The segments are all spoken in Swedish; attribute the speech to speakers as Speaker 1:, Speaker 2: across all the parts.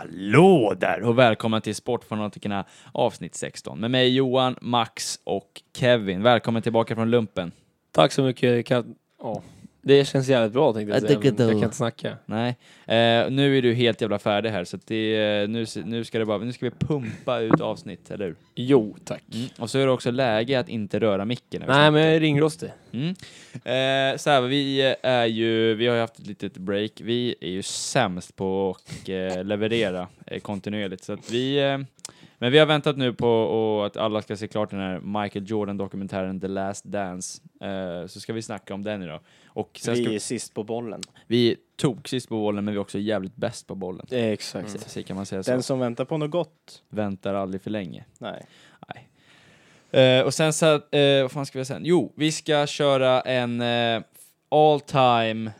Speaker 1: Hallå där och välkomna till Sportfanatikerna avsnitt 16 med mig Johan, Max och Kevin. Välkommen tillbaka från lumpen.
Speaker 2: Tack så mycket. Kan... ja. Det känns jävligt bra tänkte jag
Speaker 3: Jag
Speaker 2: säga,
Speaker 3: tycker
Speaker 2: men jag
Speaker 3: det.
Speaker 2: kan inte snacka.
Speaker 1: Nej, eh, nu är du helt jävla färdig här så att det, eh, nu, nu, ska det bara, nu ska vi pumpa ut avsnitt, eller hur?
Speaker 2: Jo, tack.
Speaker 1: Mm. Och så är det också läge att inte röra micken. när vi
Speaker 2: Nej, men jag är ringrostig.
Speaker 1: Mm. Eh, så här, vi är ju, vi har ju haft ett litet break. Vi är ju sämst på att eh, leverera eh, kontinuerligt. Så att vi, eh, men vi har väntat nu på och att alla ska se klart den här Michael Jordan-dokumentären The Last Dance. Eh, så ska vi snacka om den idag. Och sen ska
Speaker 3: Vi
Speaker 1: vi,
Speaker 3: är sist på bollen.
Speaker 1: vi tog sist på bollen, men vi är också jävligt bäst på bollen.
Speaker 3: Eh, Exakt.
Speaker 1: Så, så kan man säga Mm. så.
Speaker 3: Mm. Den som väntar på något gott.
Speaker 1: Väntar aldrig för länge.
Speaker 3: Nej.
Speaker 1: Eh, och sen så, att, eh, vad fan ska vi göra sen? Jo, vi ska köra en eh, all time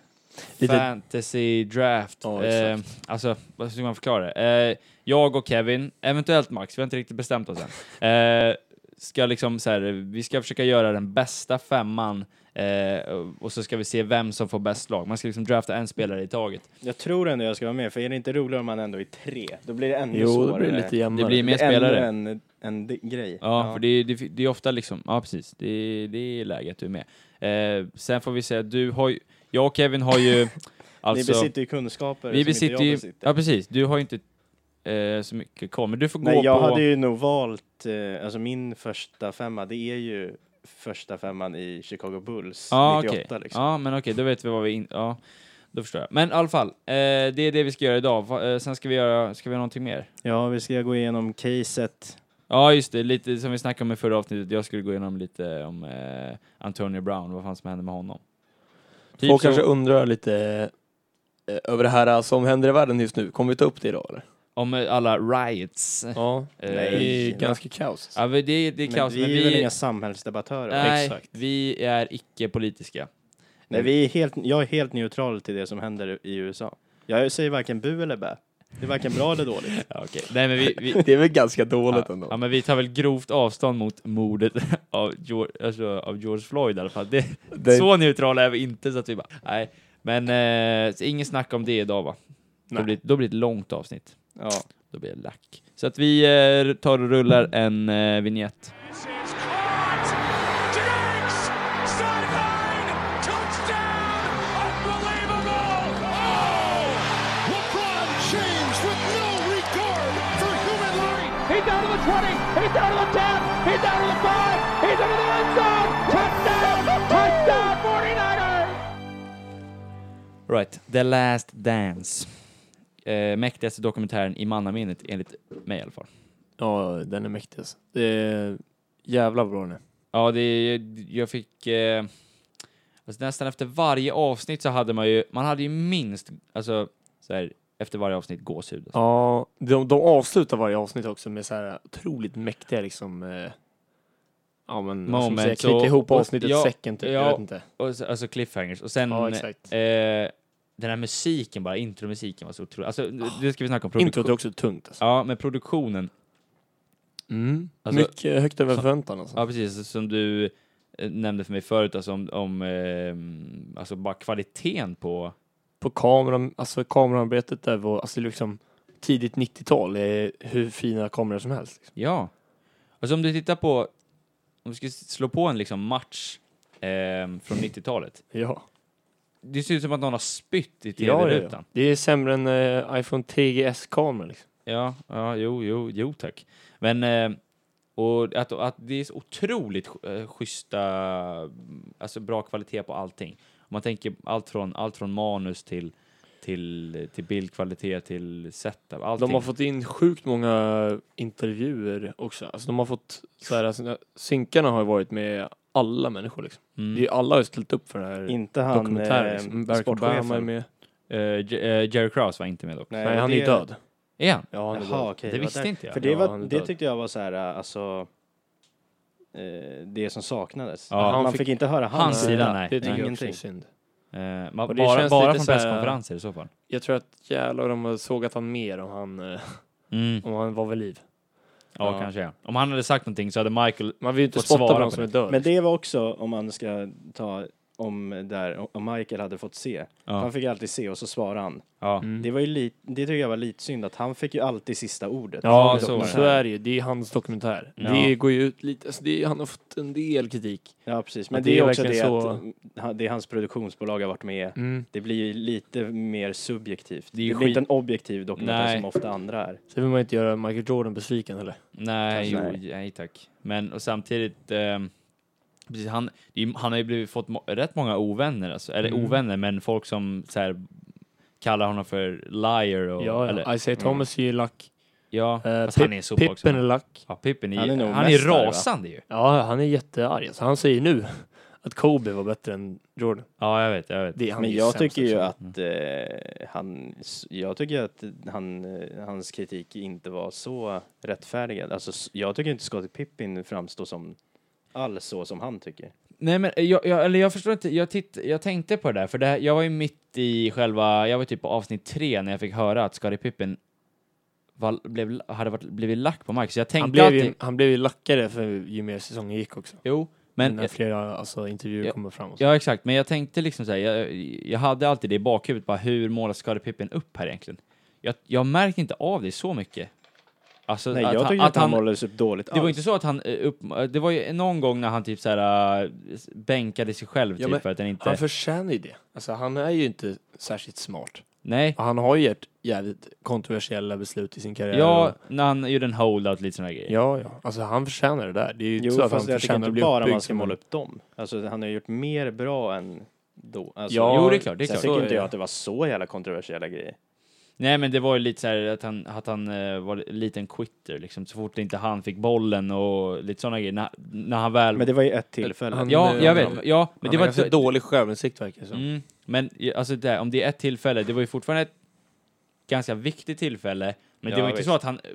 Speaker 2: Lite-
Speaker 1: fantasy draft.
Speaker 3: Ja,
Speaker 1: eh,
Speaker 3: exakt.
Speaker 1: alltså, vad ska man förklara det? Eh, jag och Kevin, eventuellt Max, vi har inte riktigt bestämt oss än. Eh, ska liksom så här, vi ska försöka göra den bästa femman eh, och så ska vi se vem som får bäst lag. Man ska liksom drafta en spelare i taget.
Speaker 3: Jag tror ändå jag ska vara med, för är det inte roligare om man ändå är tre? Då blir det ännu
Speaker 2: Jo,
Speaker 3: svårare.
Speaker 2: det blir lite jämnare.
Speaker 1: Det blir mer
Speaker 3: ännu
Speaker 1: spelare.
Speaker 3: en, en di- grej.
Speaker 1: Ja, för det, är- det, det är ofta liksom, ja precis, det, det är läget du är med. Eh, sen får vi säga, du har ju, jag och Kevin har ju, alltså,
Speaker 3: Ni besitter ju kunskaper
Speaker 1: vi
Speaker 3: som
Speaker 1: besitter
Speaker 3: inte jag
Speaker 1: ju,
Speaker 3: besitter.
Speaker 1: ja precis, du har ju inte eh, så mycket koll, men du får
Speaker 3: Nej,
Speaker 1: gå
Speaker 3: jag
Speaker 1: på,
Speaker 3: hade ju nog valt, eh, alltså min första femma, det är ju första femman i Chicago Bulls
Speaker 1: ja,
Speaker 3: 98
Speaker 1: okej.
Speaker 3: liksom.
Speaker 1: Ja, men okej, då vet vi vad vi, in, ja, då förstår jag. Men i alla fall, eh, det är det vi ska göra idag, Va, eh, sen ska vi göra, ska vi göra någonting mer?
Speaker 3: Ja, vi ska gå igenom caset.
Speaker 1: Ja, just det, lite som vi snackade om i förra avsnittet, jag skulle gå igenom lite om eh, Antonio Brown, vad fan som hände med honom. Typ
Speaker 2: Folk
Speaker 1: så-
Speaker 2: kanske undrar lite eh, över det här eh, som händer i världen just nu. Kommer vi ta upp det idag eller?
Speaker 1: om eh, alla riots.
Speaker 2: Ja.
Speaker 1: Eh,
Speaker 2: Det
Speaker 3: Nej.
Speaker 2: är ganska kaos.
Speaker 1: Ja, men det, det är kaos,
Speaker 3: men vi är väl inga samhällsdebattörer?
Speaker 1: nej,
Speaker 3: Exakt.
Speaker 1: vi är icke politiska.
Speaker 3: Nej, vi är helt, jag är helt neutral till det som händer i USA. Jag säger varken bu eller bä. Det är varken bra eller dåligt.
Speaker 1: Ja, okej. Nej, men vi, vi,
Speaker 2: Det är väl ganska dåligt
Speaker 1: ja,
Speaker 2: ändå.
Speaker 1: ja, men vi tar väl grovt avstånd mot mordet av George, alltså, av George Floyd i alla fall. Det,
Speaker 2: Det-
Speaker 1: Så neutrala är vi inte så att vi bara, nej. Men eh, så ingen snack om det idag va? Då
Speaker 2: Nej.
Speaker 1: blir, då blir det ett långt avsnitt.
Speaker 3: Ja.
Speaker 1: Då blir det lack. Så att vi eh, tar och rullar en eh, vignett.
Speaker 4: This is caught! Diggs! Sideline! Touchdown! Unbelievable! Oh! LeBron James with no regard for human life! He's down to the 20! He's down to the 10! He's down to the 5! He's into the end zone! Touchdown! Touchdown 49ers!
Speaker 1: Right, The Last Dance. Eh, mäktigaste dokumentären i mannaminnet, enligt mig i alla fall.
Speaker 2: Ja, den är mäktig. alltså. Det är jävla bra den är.
Speaker 1: Ja, det, jag fick... Eh, alltså nästan efter varje avsnitt så hade man ju... Man hade ju minst... Alltså, så här, efter varje avsnitt gåshud. Alltså.
Speaker 2: Ja, de, de avslutar varje avsnitt också med så här otroligt mäktiga liksom eh, Ja men vad ska man säga,
Speaker 1: Moments
Speaker 2: knyta
Speaker 1: och-
Speaker 2: ihop
Speaker 1: och-
Speaker 2: avsnittet
Speaker 1: ja,
Speaker 2: säcken typ,
Speaker 1: ja.
Speaker 2: jag vet inte.
Speaker 1: Och, så- alltså cliffhangers. Och sen...
Speaker 2: Ja exakt.
Speaker 1: eh, den här musiken bara, intromusiken var så otrolig. Alltså, det ska vi snacka om.
Speaker 2: Introt är också tungt alltså.
Speaker 1: Ja, men produktionen.
Speaker 2: Mm.
Speaker 1: Alltså-
Speaker 2: Mycket högt över förväntan alltså.
Speaker 1: Ja, precis. Som du eh, nämnde för mig förut, alltså om... om eh, alltså bara kvaliteten på...
Speaker 2: På kameran, alltså kamerarbetet där var, alltså liksom tidigt 90-tal, är hur fina kameror som helst. Liksom.
Speaker 1: Ja. Alltså om du tittar på... Om vi ska slå på en liksom match ehm, från 90-talet.
Speaker 2: Ja.
Speaker 1: Det ser ut som att någon har spytt i
Speaker 2: Ja, ja,
Speaker 1: tv-rutan.
Speaker 2: ja. Det är sämre än eh, iPhone 3GS-kameror liksom.
Speaker 1: Ja, ja. jo, jo, jo tack. Men eh, och att, att det är så otroligt eh, schyssta, mm, alltså bra kvalitet på allting. Om man tänker allt från, allt från manus till, till, till bildkvalitet till setup, allting.
Speaker 2: De har fått in sjukt många intervjuer också. Alltså de har fått, så här, alltså, synkarna har ju varit med alla människor liksom.
Speaker 1: mm.
Speaker 2: Det är ju alla har ju ställt upp för den här
Speaker 3: Inte han
Speaker 2: dokumentären.
Speaker 3: eh,
Speaker 2: liksom. Barack Obama är
Speaker 3: sportchefen.
Speaker 2: med.
Speaker 1: Eh, J- eh, Jerry Krause var inte med dock.
Speaker 2: Nej, han är ju
Speaker 3: det-
Speaker 2: död.
Speaker 1: Är han?
Speaker 2: Ja, han är
Speaker 3: Jaha,
Speaker 2: död.
Speaker 3: okej.
Speaker 1: det
Speaker 3: var
Speaker 1: visste
Speaker 3: där-
Speaker 1: inte jag.
Speaker 3: För det,
Speaker 2: Ja,
Speaker 3: var,
Speaker 2: han är
Speaker 3: det
Speaker 2: död.
Speaker 3: tyckte jag var så här, alltså... Eh, det som saknades.
Speaker 1: Ja.
Speaker 3: Man
Speaker 2: Han
Speaker 3: fick,
Speaker 2: fick-
Speaker 3: inte höra hans,
Speaker 1: hans sida, nej.
Speaker 2: Det tycker jag också
Speaker 3: Ingenting.
Speaker 2: är synd.
Speaker 1: Eh, ma-
Speaker 2: Och det
Speaker 1: bara
Speaker 2: känns
Speaker 1: bara
Speaker 2: lite
Speaker 1: från
Speaker 2: så här-
Speaker 1: presskonferenser i så fall.
Speaker 2: Jag tror att jävlar de har sågat han mer om han, eh,
Speaker 1: Mm.
Speaker 2: om han var vid liv.
Speaker 1: Ja,
Speaker 3: Ja.
Speaker 1: kanske. Ja. Om han hade sagt någonting så hade Michael...
Speaker 2: Man vill ju inte
Speaker 1: Fått
Speaker 2: spotta
Speaker 1: svara
Speaker 2: på någon
Speaker 1: på
Speaker 2: som
Speaker 1: det.
Speaker 2: är död.
Speaker 3: Men det var också, om man ska ta om, där, om Michael hade fått se.
Speaker 1: Ja. Mm.
Speaker 3: Han fick alltid se och så svarade han.
Speaker 1: Ja.
Speaker 2: Mm.
Speaker 3: Det, var ju lite, det tycker jag var lite synd att han fick ju alltid sista ordet. liksom-
Speaker 2: Ja,
Speaker 1: Ja, så
Speaker 2: så,
Speaker 1: var det.
Speaker 2: så är det ju. Det är hans dokumentär.
Speaker 1: Ja.
Speaker 2: Det går ju ut lite, alltså det, han har fått en del kritik.
Speaker 3: Ja, precis. Men
Speaker 2: Att
Speaker 3: det,
Speaker 2: det
Speaker 3: är
Speaker 2: är
Speaker 3: också det
Speaker 2: verkligen
Speaker 3: att han- det är hans produktionsbolag har varit med.
Speaker 1: Mm.
Speaker 3: Det blir ju lite mer subjektivt.
Speaker 1: Det
Speaker 3: Det,
Speaker 1: är ju
Speaker 3: blir inte en
Speaker 1: skit-
Speaker 3: objektiv dokumentär
Speaker 1: Nej.
Speaker 3: som ofta andra är.
Speaker 2: Sen vill man inte göra Michael Jordan besviken heller.
Speaker 1: Nej, jo,
Speaker 3: Kanske
Speaker 1: nej. tack. Men och samtidigt, ehm, precis, han, det är ju- han har ju blivit, fått mo- rätt många ovänner, alltså. eller
Speaker 2: Mm.
Speaker 1: ovänner, men folk som så här, kallar honom för liar och...
Speaker 2: ja,
Speaker 1: Eller,
Speaker 2: ja. Isaiah Thomas är ju lack.
Speaker 1: ja
Speaker 2: Eh,
Speaker 1: fast
Speaker 2: Pip-
Speaker 1: han är en sopa också.
Speaker 2: Pippen är lack.
Speaker 1: Ja, Pippen är,
Speaker 3: Han är nog
Speaker 1: han är
Speaker 3: mästare, va?
Speaker 1: rasande ju.
Speaker 2: Ja, han är jättearg. Så han säger nu att Kobe var bättre än Jordan.
Speaker 1: Ja, jag vet, jag vet.
Speaker 2: Det är han
Speaker 3: Men
Speaker 2: ju
Speaker 3: jag
Speaker 2: sämst liksom.
Speaker 3: tycker ju
Speaker 2: också.
Speaker 3: att eh, han, s- jag tycker att han, eh, hans kritik inte var så rättfärdigad. Alltså, s- jag tycker inte Scottie Pippin framstår som alls så som han tycker.
Speaker 1: Nej, men jag, jag, eller jag förstår inte. Jag, titt, jag tänkte på det där, för det här, jag var ju mitt i själva... Jag var typ på avsnitt tre när jag fick höra att Scottie Pippen var, blev, hade varit, blivit lack på Mike, så jag tänkte
Speaker 2: han, blev
Speaker 1: alltid...
Speaker 2: ju, han blev ju lackare för ju mer säsongen gick också.
Speaker 1: Jo,
Speaker 2: Men
Speaker 1: men...
Speaker 2: när flera alltså, intervjuer
Speaker 1: Ja.
Speaker 2: kommer fram. Och så.
Speaker 1: Ja, exakt. Men jag tänkte liksom så här, jag, jag hade alltid det i bakhuvudet, bara hur målas Scottie Pippen upp här egentligen? Jag, jag märkte inte av det så mycket. Alltså,
Speaker 3: Nej,
Speaker 1: att
Speaker 3: jag
Speaker 1: han-
Speaker 3: tycker
Speaker 1: att
Speaker 3: att han
Speaker 1: han-
Speaker 3: målades upp dåligt
Speaker 1: Det var
Speaker 3: alls.
Speaker 1: inte så att han eh, upp, eh, det var ju någon gång när han typ så här eh, s- bänkade sig själv
Speaker 2: Ja,
Speaker 1: typ
Speaker 2: men
Speaker 1: för att han inte...
Speaker 2: Han förtjänar ju det. Alltså, han är ju inte särskilt smart.
Speaker 1: Nej.
Speaker 2: Och Han har ju gjort jävligt kontroversiella beslut i sin karriär.
Speaker 1: Ja,
Speaker 2: Och-
Speaker 1: när han gjorde en hold-out, lite såna här grejer.
Speaker 2: ja, ja. Alltså han förtjänar det där. Det är ju inte
Speaker 3: Jo,
Speaker 2: så att han
Speaker 3: fast jag tycker
Speaker 2: förtjänar
Speaker 3: inte
Speaker 2: att bli
Speaker 3: bara man
Speaker 2: uppbyggd
Speaker 3: ska
Speaker 2: som en-
Speaker 3: måla upp dem. Alltså, han har ju gjort mer bra än då. Alltså,
Speaker 2: Ja,
Speaker 1: Jo, det är klart, det är
Speaker 3: Sen
Speaker 1: klart.
Speaker 3: tycker
Speaker 1: Så
Speaker 3: inte
Speaker 1: är
Speaker 3: jag
Speaker 1: det.
Speaker 3: att det var så jävla kontroversiella grejer.
Speaker 1: Nej, men det var ju lite så här att han, att han eh, var en liten quitter liksom, så fort inte han fick bollen och lite såna grejer. När, när han väl...
Speaker 3: Men det var ju ett tillfälle.
Speaker 2: Han-
Speaker 1: ja,
Speaker 2: eh,
Speaker 1: jag vet.
Speaker 2: han-
Speaker 1: Ja, men
Speaker 2: Han
Speaker 1: det
Speaker 2: har
Speaker 1: var...
Speaker 2: ganska
Speaker 3: alltså,
Speaker 2: dålig självinsikt verkar det som.
Speaker 1: Mm. Men i- alltså det, om det är ett tillfälle, det var ju fortfarande ett ganska viktigt tillfälle, men det
Speaker 3: Ja,
Speaker 1: var inte
Speaker 3: visst.
Speaker 1: så att han, eh,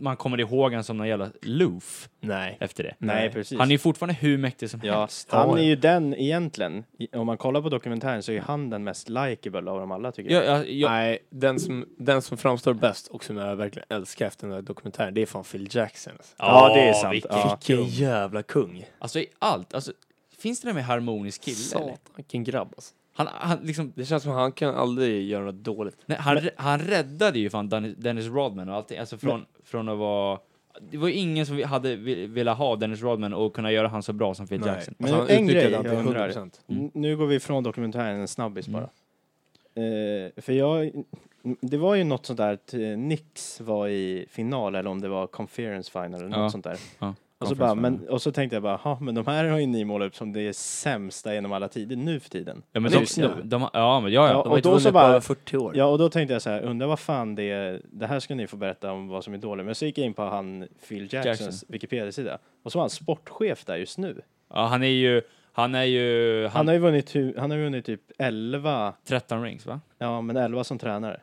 Speaker 1: man kommer ihåg han som någon jävla loof
Speaker 2: Nej.
Speaker 1: efter det.
Speaker 3: Nej, precis.
Speaker 1: Han är ju fortfarande hur mäktig som
Speaker 3: Ja,
Speaker 1: helst.
Speaker 3: han är ju den egentligen. I- Om man kollar på dokumentären så är han den mest likeable av dem alla tycker jag.
Speaker 1: Ja, ja, ja,
Speaker 2: Nej, den som, den som framstår bäst och som jag verkligen älskar efter den där dokumentären, det är fan Phil Jackson. Alltså.
Speaker 3: Ja, det är sant.
Speaker 1: vilken-
Speaker 3: Ja.
Speaker 2: Vilken jävla kung.
Speaker 1: Alltså i allt, alltså, finns det någon mer harmonisk kille? eller?
Speaker 2: Satan, vilken grabb alltså.
Speaker 1: Han, han, liksom,
Speaker 2: Det känns som att han kan aldrig göra något dåligt.
Speaker 1: nej, han, han räddade ju fan Dennis- Dennis Rodman och allting, alltså från, från att vara... Det var ju ingen som vi- hade vi- velat ha Dennis Rodman och kunna göra han så bra som Phil
Speaker 2: Nej.
Speaker 1: Jackson.
Speaker 3: Men
Speaker 2: Alltså, han
Speaker 3: en
Speaker 2: utnyttjade
Speaker 3: grej
Speaker 2: han till
Speaker 3: jag undrar.
Speaker 2: 100%.
Speaker 1: Mm.
Speaker 3: N- Nu går vi ifrån dokumentären en snabbis bara. Eh, för jag, n- det var ju något sånt där att eh, Knicks var i final eller om det var conference final eller
Speaker 1: Ja.
Speaker 3: något sånt där.
Speaker 1: Ja,
Speaker 3: Och så, bara, men, och så tänkte jag bara, "Ha, men de här har ju ni målat upp som det sämsta genom alla tider nu för tiden.
Speaker 1: Ja, men
Speaker 3: Det är
Speaker 1: de,
Speaker 3: ju snö.
Speaker 1: de, de, ja, men ja, ja.
Speaker 3: Ja,
Speaker 2: De
Speaker 3: och
Speaker 2: har inte
Speaker 3: då så
Speaker 2: vunnit på
Speaker 3: bara-
Speaker 2: över 40 år.
Speaker 3: Ja, och då tänkte jag så här, undrar vad fan det är, det här ska ni få berätta om vad som är dåligt. Men så gick jag in på han Phil Jacksons
Speaker 1: Jackson.
Speaker 3: Wikipedia-sida och så var han sportchef där just nu.
Speaker 1: Ja, han är ju... Han är ju... Han,
Speaker 3: Han, har ju vunnit, hu- han har ju vunnit typ 11,
Speaker 1: 13 rings, va?
Speaker 3: ja men 11 som tränare.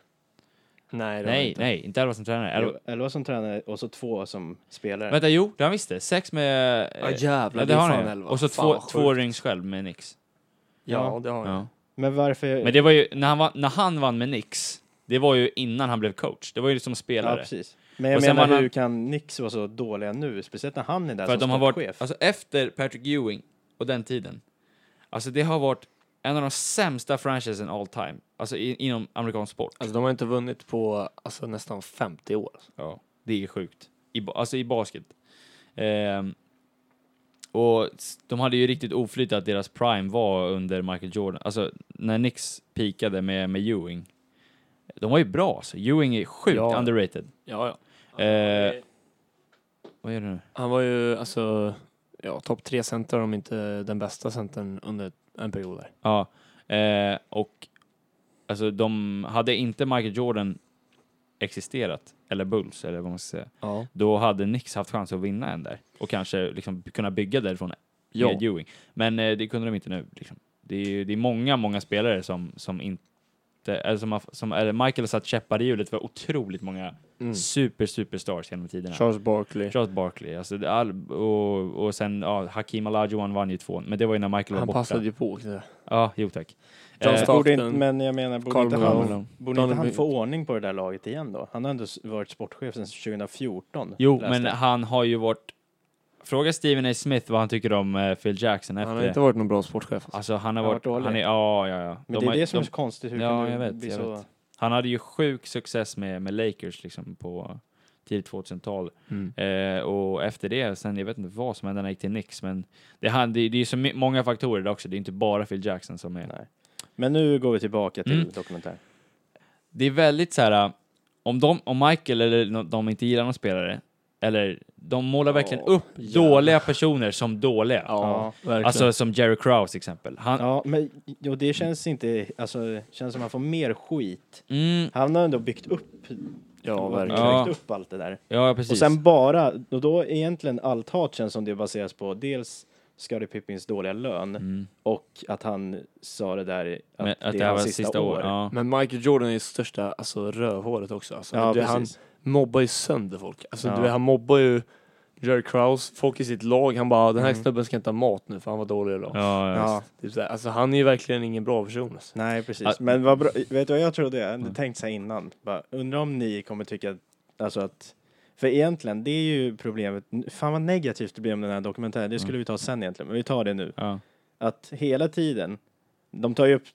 Speaker 2: Nej, det har han
Speaker 1: Nej,
Speaker 2: inte.
Speaker 1: nej, inte 11 som tränare. 11.
Speaker 3: Jo, 11 som tränare och så två som spelare.
Speaker 1: Vänta, jo, det han visste. Sex med... eh,
Speaker 2: eh. Ja jävlar,
Speaker 1: ja,
Speaker 2: det, är
Speaker 1: har
Speaker 2: fan
Speaker 1: han ju.
Speaker 2: 11.
Speaker 1: Och så
Speaker 2: Fan,
Speaker 1: två,
Speaker 2: vad
Speaker 1: två
Speaker 2: sjukt.
Speaker 1: rings själv med Nix.
Speaker 2: Ja, det har han.
Speaker 1: Ja.
Speaker 3: Men varför?
Speaker 1: Men det var ju... När han, vann- när han vann med Nix, det var ju innan han blev coach. Det var ju som
Speaker 3: ja,
Speaker 1: spelare.
Speaker 3: precis. Men jag
Speaker 1: Och sen
Speaker 3: menar,
Speaker 1: var
Speaker 3: hur
Speaker 1: han-
Speaker 3: kan Nix vara så dåliga nu? Speciellt när han är där
Speaker 1: för
Speaker 3: som
Speaker 1: att de har varit...
Speaker 3: sportchef.
Speaker 1: Alltså efter Patrick Ewing och den tiden. Alltså det har varit en av de sämsta franchisen all time. Alltså i, inom amerikansk sport.
Speaker 2: Alltså de har inte vunnit på alltså, nästan 50 år.
Speaker 1: Ja, det är sjukt. I, ba- alltså i basket. Ehm, och s- de hade ju riktigt oflyt att deras prime var under Michael Jordan. Alltså när Knicks peakade med, med Ewing. De var ju bra alltså. Ewing är sjukt
Speaker 2: Ja.
Speaker 1: underrated.
Speaker 2: Ja, ja.
Speaker 1: Eh, vad gör du nu?
Speaker 2: Han var ju alltså, ja, topp tre center om inte den bästa centern under en period där.
Speaker 1: Ja, eh, och alltså de hade inte Michael Jordan existerat, eller Bulls eller vad man ska säga,
Speaker 2: Ja.
Speaker 1: då hade Knicks haft chans att vinna en där och kanske liksom kunna bygga därifrån
Speaker 2: Ja.
Speaker 1: med Ewing. Men eh, det kunde de inte nu. Liksom. Det, är, ju- det är många, många spelare som, som inte... Eller som, har- som, eller Michael har satt käppar i hjulet för otroligt många
Speaker 2: Mm.
Speaker 1: super, superstars genom tiderna.
Speaker 2: Charles Barkley.
Speaker 1: Charles Barkley, alltså, det- all, och, och sen ja, Hakim Olajuwon vann ju tvåan, men det var ju när Michael
Speaker 2: Han
Speaker 1: var borta.
Speaker 2: passade ju på. också där.
Speaker 1: Ja, jo tack.
Speaker 2: John
Speaker 1: Eh,
Speaker 2: Stockton.
Speaker 3: borde inte, men jag menar, borde
Speaker 2: Karl
Speaker 3: inte
Speaker 2: Malone.
Speaker 3: han, borde inte
Speaker 2: Donovan
Speaker 3: han
Speaker 2: Mitchell.
Speaker 3: få ordning på det där laget igen då? Han har ändå s- varit sportchef sedan 2014.
Speaker 1: Jo,
Speaker 3: läste
Speaker 1: men
Speaker 3: jag.
Speaker 1: han har ju varit Fråga Steven A. Smith vad han tycker om eh, Phil Jackson efter
Speaker 2: Han har
Speaker 1: det.
Speaker 2: inte varit någon bra sportchef. Alltså.
Speaker 1: Alltså han har
Speaker 3: Han har
Speaker 1: varit...
Speaker 3: varit dålig.
Speaker 1: han är, ja, ja, ja.
Speaker 3: Men
Speaker 1: De
Speaker 3: det
Speaker 1: har-
Speaker 3: är det som
Speaker 1: de-
Speaker 3: är så konstigt. Hur
Speaker 1: Ja,
Speaker 3: kan det
Speaker 1: jag vet,
Speaker 3: bli
Speaker 1: jag
Speaker 3: så?
Speaker 1: vet. Han hade ju sjuk success med, med Lakers liksom på tidigt 2000-tal.
Speaker 2: Mm.
Speaker 1: Eh, och efter det, sen jag vet inte vad som hände när han gick till Knicks, men det, han, det, det är ju så my- många faktorer där också. Det är inte bara Phil Jackson som är...
Speaker 3: Nej. Men nu går vi tillbaka till
Speaker 1: Mm.
Speaker 3: dokumentär.
Speaker 1: Det är väldigt så här, om, de, om Michael eller no- de inte gillar någon spelare, eller de målar verkligen
Speaker 3: Ja,
Speaker 1: upp dåliga personer som dåliga.
Speaker 2: Ja, verkligen.
Speaker 1: Alltså som Jerry Krause exempel. Han,
Speaker 3: Ja, men och det känns inte, alltså känns som han får mer skit.
Speaker 1: mm,
Speaker 3: Han har ändå byggt upp,
Speaker 2: ja,
Speaker 3: och
Speaker 2: verkligen.
Speaker 1: Ja.
Speaker 3: byggt upp allt det där.
Speaker 1: ja precis.
Speaker 3: Och sen bara, och då egentligen allt hat känns som det baseras på dels Scottie Pippins dåliga lön
Speaker 1: mm,
Speaker 3: och att han sa det där att,
Speaker 1: men, att
Speaker 3: det är
Speaker 1: här var
Speaker 3: hans sista, år.
Speaker 1: Ja.
Speaker 2: Men Michael Jordan är ju största alltså, rövhålet också. Alltså,
Speaker 3: Ja,
Speaker 2: du, han
Speaker 3: precis.
Speaker 2: mobbar ju sönder folk. Alltså,
Speaker 3: Ja.
Speaker 2: du, han mobbar ju Jerry Krause, folk i sitt lag. Han bara, den här
Speaker 3: Mm.
Speaker 2: snubben ska inte ha mat nu för han var dålig idag.
Speaker 1: Ja, ja.
Speaker 3: Ja,
Speaker 2: Typ så här. Alltså, han är ju verkligen ingen bra person. Alltså.
Speaker 3: nej precis.
Speaker 1: Att-
Speaker 3: Men vad bra, vet du vad jag trodde? Jag hade
Speaker 1: Mm.
Speaker 3: tänkt så här innan. Bara, undrar om ni kommer tycka, alltså att, för egentligen det är ju problemet, fan vad negativt det blir om den här dokumentären, det
Speaker 1: Mm.
Speaker 3: skulle vi ta sen egentligen, men vi tar det nu.
Speaker 1: Ja.
Speaker 3: Att hela tiden, de tar ju upp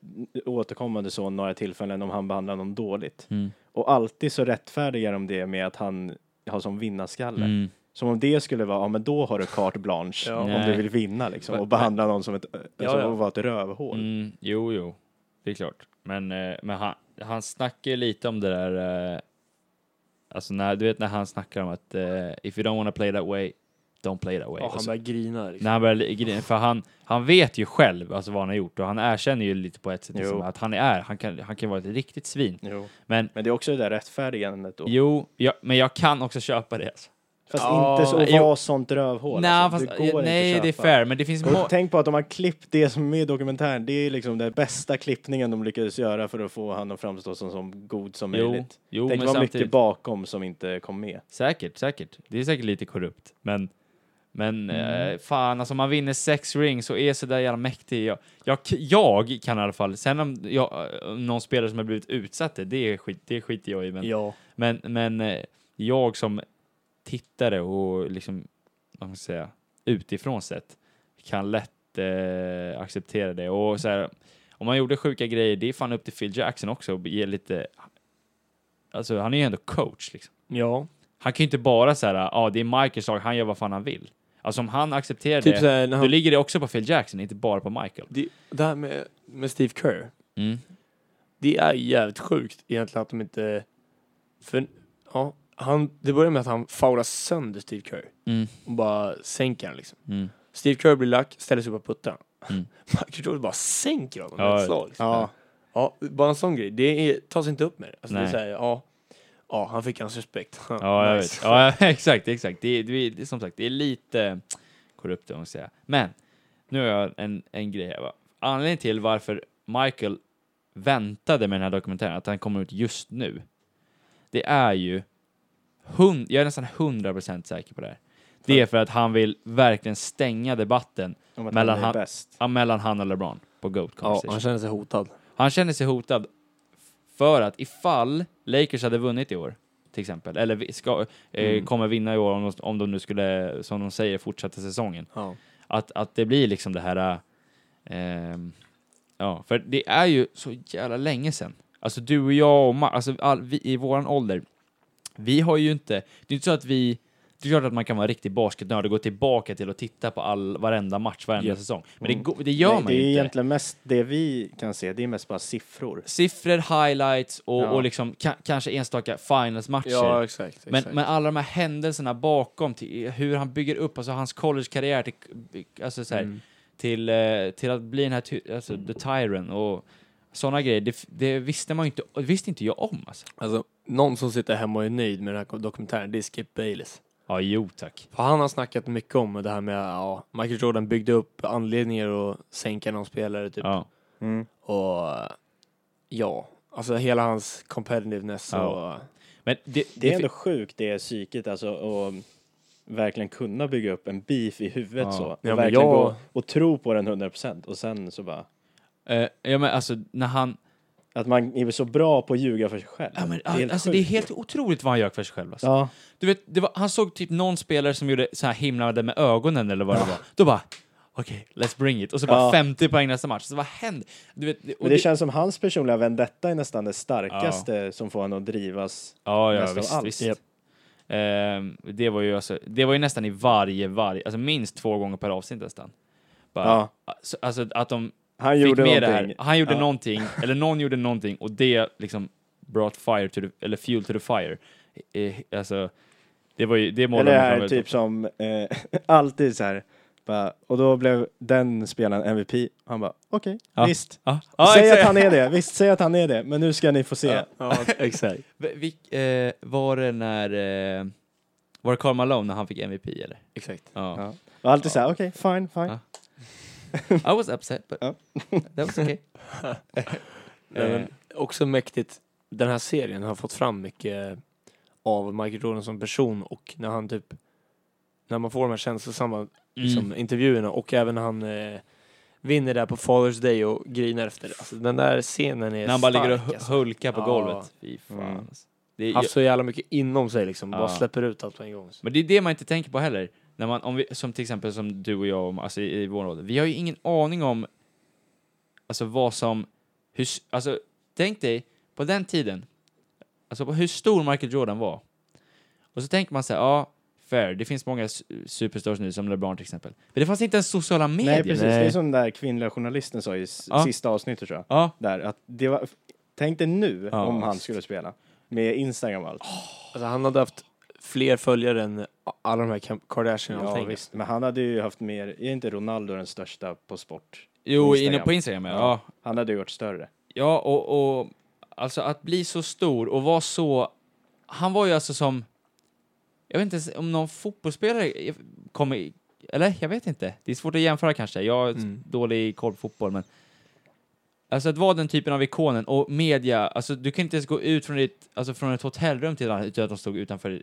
Speaker 3: återkommande så några tillfällen om han behandlar någon dåligt.
Speaker 1: Mm.
Speaker 3: Och alltid så rättfärdigar de det med att han har som vinnarskalle.
Speaker 1: Mm.
Speaker 3: Som om det skulle vara, ja men då har du carte blanche
Speaker 2: Ja.
Speaker 3: om
Speaker 1: Nej.
Speaker 3: du vill vinna liksom. Och
Speaker 1: Men-
Speaker 3: behandla någon som ett, alltså,
Speaker 2: Ja, ja.
Speaker 3: och vara ett rövhål.
Speaker 1: Mm, jo, jo, det är klart. Men, eh, men han, han snackar ju lite om det där, eh, alltså när, du vet när han snackar om att eh, if you don't wanna play that way, don't play that way.
Speaker 2: Ja,
Speaker 1: Och
Speaker 2: han
Speaker 1: så,
Speaker 2: börjar grina. Liksom.
Speaker 1: när han börjar li- grina, för han, han vet ju själv alltså, vad han har gjort och han erkänner ju lite på ett sätt
Speaker 3: Jo.
Speaker 1: liksom, att han är, han kan, han kan vara ett riktigt svin.
Speaker 3: Jo.
Speaker 1: Men
Speaker 3: Men det är också det där rättfärdigandet då.
Speaker 1: jo, jag, men jag kan också köpa det. Alltså.
Speaker 3: Fast
Speaker 2: Ja,
Speaker 3: inte så att
Speaker 1: jo.
Speaker 3: vara sånt rövhål.
Speaker 1: Nej,
Speaker 3: alltså.
Speaker 1: fast,
Speaker 3: det går
Speaker 1: nej
Speaker 3: inte
Speaker 1: det är
Speaker 3: att köpa.
Speaker 1: fair, men det finns må-
Speaker 3: Och tänk på att de har klippt det som är med i dokumentären. Det är liksom den bästa klippningen de lyckades göra för att få han att framstå som så god som
Speaker 1: Jo,
Speaker 3: möjligt.
Speaker 1: jo,
Speaker 3: tänk
Speaker 1: men
Speaker 3: vad
Speaker 1: samtidigt-
Speaker 3: mycket bakom som inte kom med.
Speaker 1: Säkert, säkert. Det är säkert lite korrupt, men men eh, fan, alltså man vinner sex rings och är så där jävla mäktig. Jag, jag, jag kan i alla fall, sen om jag, om någon spelare som har blivit utsatt, det, det, är skit, det skiter jag i. Men,
Speaker 2: Ja.
Speaker 1: men, men eh, jag som tittare och liksom, vad ska man säga, utifrån sett kan lätt eh, acceptera det. Och så här, om man gjorde sjuka grejer, det är fan upp till Phil Jackson också att ge lite, alltså han är ju ändå coach liksom.
Speaker 2: ja.
Speaker 1: Han kan ju inte bara säga ja ah, det är Michaels lag, han gör vad fan han vill. Alltså om han accepterar
Speaker 2: Typ
Speaker 1: det,
Speaker 2: såhär, när
Speaker 1: då
Speaker 2: han,
Speaker 1: ligger det också på Phil Jackson, inte bara på Michael.
Speaker 2: det, det här med, med Steve Kerr.
Speaker 1: Mm.
Speaker 2: Det är jävligt sjukt egentligen att de inte... För, ja, han, det börjar med att han faular sönder Steve Kerr
Speaker 1: Mm.
Speaker 2: och bara sänker han liksom.
Speaker 1: Mm.
Speaker 2: Steve Kerr blir lack, ställer sig upp och puttar.
Speaker 1: Mm.
Speaker 2: Michael Jordan bara sänker honom
Speaker 1: Ja,
Speaker 2: med ett slag. Liksom.
Speaker 3: Ja,
Speaker 2: Ja, bara en sån grej. Det är, tas inte upp med det. Alltså, det är
Speaker 1: Nej.
Speaker 2: så här, ja, ja, han fick hans respekt.
Speaker 1: Ja, jag vet.
Speaker 2: Nice.
Speaker 1: ja, exakt, exakt. Det, är- det, är- det, är som sagt, det är lite korrupt om man säga. Men nu har jag en, en grej här. Va? Anledningen till varför Michael väntade med den här dokumentären, att han kommer ut just nu, det är ju, hund, jag är nästan 100% säker på det här. Det är för att han vill verkligen stänga debatten
Speaker 3: om att
Speaker 1: Mellan
Speaker 3: han är
Speaker 1: han-
Speaker 3: bäst.
Speaker 1: Ja, mellan han och LeBron på GOAT
Speaker 2: Ja,
Speaker 1: Conversation.
Speaker 2: han känner sig hotad.
Speaker 1: Han känner sig hotad för att ifall Lakers hade vunnit i år, till exempel, eller vi- ska, eh,
Speaker 2: Mm.
Speaker 1: kommer vinna i år om de, om de nu skulle, som de säger, fortsätta säsongen,
Speaker 2: Ja.
Speaker 1: att, att det blir liksom det här... ehm, ja, för det är ju så jävla länge sedan. Alltså du och jag och Ma- alltså all, vi, i våran ålder, vi har ju inte... Det är inte så att vi... Det är klart att man kan vara riktig basketnörd och gå tillbaka till och titta på all, varenda match, varenda
Speaker 2: Ja.
Speaker 1: säsong. Men det, går- det gör
Speaker 3: Mm. Nej,
Speaker 1: man
Speaker 3: det
Speaker 1: ju
Speaker 3: är
Speaker 1: inte.
Speaker 3: egentligen mest det vi kan se, det är mest bara siffror.
Speaker 1: siffror, highlights och,
Speaker 3: Ja.
Speaker 1: och liksom ka- kanske enstaka finalsmatcher.
Speaker 2: Ja, exakt. exakt.
Speaker 1: men, men alla de här händelserna bakom, till, hur han bygger upp alltså hans collegekarriär till, alltså så här,
Speaker 2: Mm.
Speaker 1: till, eh, till att bli den här ty- alltså, the tyran och sådana grejer, det, f- det visste man ju inte, det visste inte jag om alltså.
Speaker 2: Alltså, någon som sitter hemma och är nöjd med den här dokumentären, det är Skip Bayless.
Speaker 1: Ja, jo tack.
Speaker 2: För han har snackat mycket om det här med, ja, Michael Jordan byggde upp anledningar att sänka någon spelare typ.
Speaker 1: Ja.
Speaker 2: Och ja, alltså hela hans competitiveness
Speaker 1: Ja.
Speaker 2: och...
Speaker 1: Men det,
Speaker 3: Det är ändå sjukt det psyket alltså och verkligen kunna bygga upp en beef i huvudet
Speaker 1: Ja.
Speaker 3: så. Och
Speaker 2: men
Speaker 3: verkligen
Speaker 2: jag-
Speaker 3: gå och tro på den 100% och sen så bara
Speaker 1: Eh, ja men alltså när han,
Speaker 3: Att man är så bra på att ljuga för sig själv.
Speaker 1: Ja, men,
Speaker 3: helt
Speaker 1: alltså, det är
Speaker 3: sjukt.
Speaker 1: helt otroligt vad han gör för sig själv. Alltså.
Speaker 3: Ja,
Speaker 1: Du vet, det var, han såg typ någon spelare som gjorde så här himlade med ögonen eller vad det var. Då bara, okej, let's bring it. Och så bara
Speaker 3: Ja.
Speaker 1: 50 poäng nästa match. Så vad hände? Du vet, och
Speaker 3: men det känns som hans personliga vendetta är nästan det starkaste som får honom att drivas.
Speaker 1: Ja, ja,
Speaker 3: mest av
Speaker 1: visst,
Speaker 3: allt.
Speaker 1: visst.
Speaker 3: Japp.
Speaker 1: Ehm, det, var ju alltså, det var ju nästan i varje, varje, alltså minst två gånger per avsnitt nästan. Bara,
Speaker 3: Ja.
Speaker 1: alltså, alltså att de
Speaker 3: Han
Speaker 1: fick
Speaker 3: gjorde
Speaker 1: med det här.
Speaker 3: någonting.
Speaker 1: Han gjorde
Speaker 3: Ja.
Speaker 1: någonting, eller någon gjorde någonting och det liksom brought fire to the, eller fuel to the fire. Eh, alltså, det var ju, det målade
Speaker 3: Eller det
Speaker 1: de fram
Speaker 3: här
Speaker 1: väldigt
Speaker 3: typ som eh, alltid så här. Bara, och då blev den spelaren MVP. Han bara, okej,
Speaker 1: Ja.
Speaker 3: visst.
Speaker 1: Ja. Ja,
Speaker 3: säg
Speaker 1: exakt.
Speaker 3: att han är det, visst, säg att han är det. Men nu ska ni få se.
Speaker 2: Ja, ja, exakt.
Speaker 1: V- vilk- eh, var det när... Eh, var det Karl Malone när han fick MVP eller?
Speaker 2: exakt.
Speaker 1: Ja.
Speaker 3: Ja. Och alltid så här, okej, fine, fine.
Speaker 1: Ja. I was upset but
Speaker 3: Ja.
Speaker 1: that was okay. Eh,
Speaker 2: Nej, men också mäktigt. Den här serien har fått fram mycket av Michael Jordan som person och när han typ när man får de här
Speaker 1: Mm.
Speaker 2: känslosamma liksom, intervjuerna och även när han eh, vinner där på Father's Day och grinar efter. Alltså, den där scenen är
Speaker 1: När han bara
Speaker 2: stark,
Speaker 1: ligger och hu-
Speaker 2: alltså.
Speaker 1: hulkar på
Speaker 2: Ja.
Speaker 1: golvet. Fy fan.
Speaker 3: Mm.
Speaker 1: alltså. Det är,
Speaker 2: haft så jävla mycket inom sig liksom,
Speaker 1: Ja.
Speaker 2: bara släpper ut allt på en gång.
Speaker 1: Men det är det man inte tänker på heller. När man, om vi, som till exempel som du och jag, om, alltså i, i vår ålder. Vi har ju ingen aning om alltså vad som... Hur, s- alltså, tänk dig, på den tiden, alltså på hur stor Michael Jordan var. Och så tänker man så här, ja, fair, det finns många su- superstars nu, som LeBron till exempel. Men det fanns inte ens sociala medier.
Speaker 3: Nej, precis. Det
Speaker 2: Nej.
Speaker 3: är som den där kvinnliga journalisten sa i s-
Speaker 1: Ja.
Speaker 3: sista avsnittet tror jag.
Speaker 1: Ja,
Speaker 3: Där, att det var, tänk dig nu
Speaker 1: Ja.
Speaker 3: om han skulle spela. Med Instagram och allt.
Speaker 2: Alltså, han hade haft fler följare än alla de här Kim- Kardashian och
Speaker 3: ja,
Speaker 2: allting.
Speaker 3: visst. Men han hade ju haft mer, är inte Ronaldo den största på sport?
Speaker 1: jo,
Speaker 3: Instagram.
Speaker 1: inne på Instagram, ja. ja.
Speaker 3: Han hade ju varit större.
Speaker 1: Ja, och, och alltså att bli så stor och vara så... Han var ju alltså som... Jag vet inte ens om någon fotbollsspelare kommer... i- Eller jag vet inte. Det är svårt att jämföra kanske. Jag har
Speaker 2: Mm.
Speaker 1: dålig koll på fotboll, men... Alltså att vara den typen av ikonen och media, alltså du kan inte ens gå ut från, ditt, alltså från ett hotellrum till ett annat utan att de stod utanför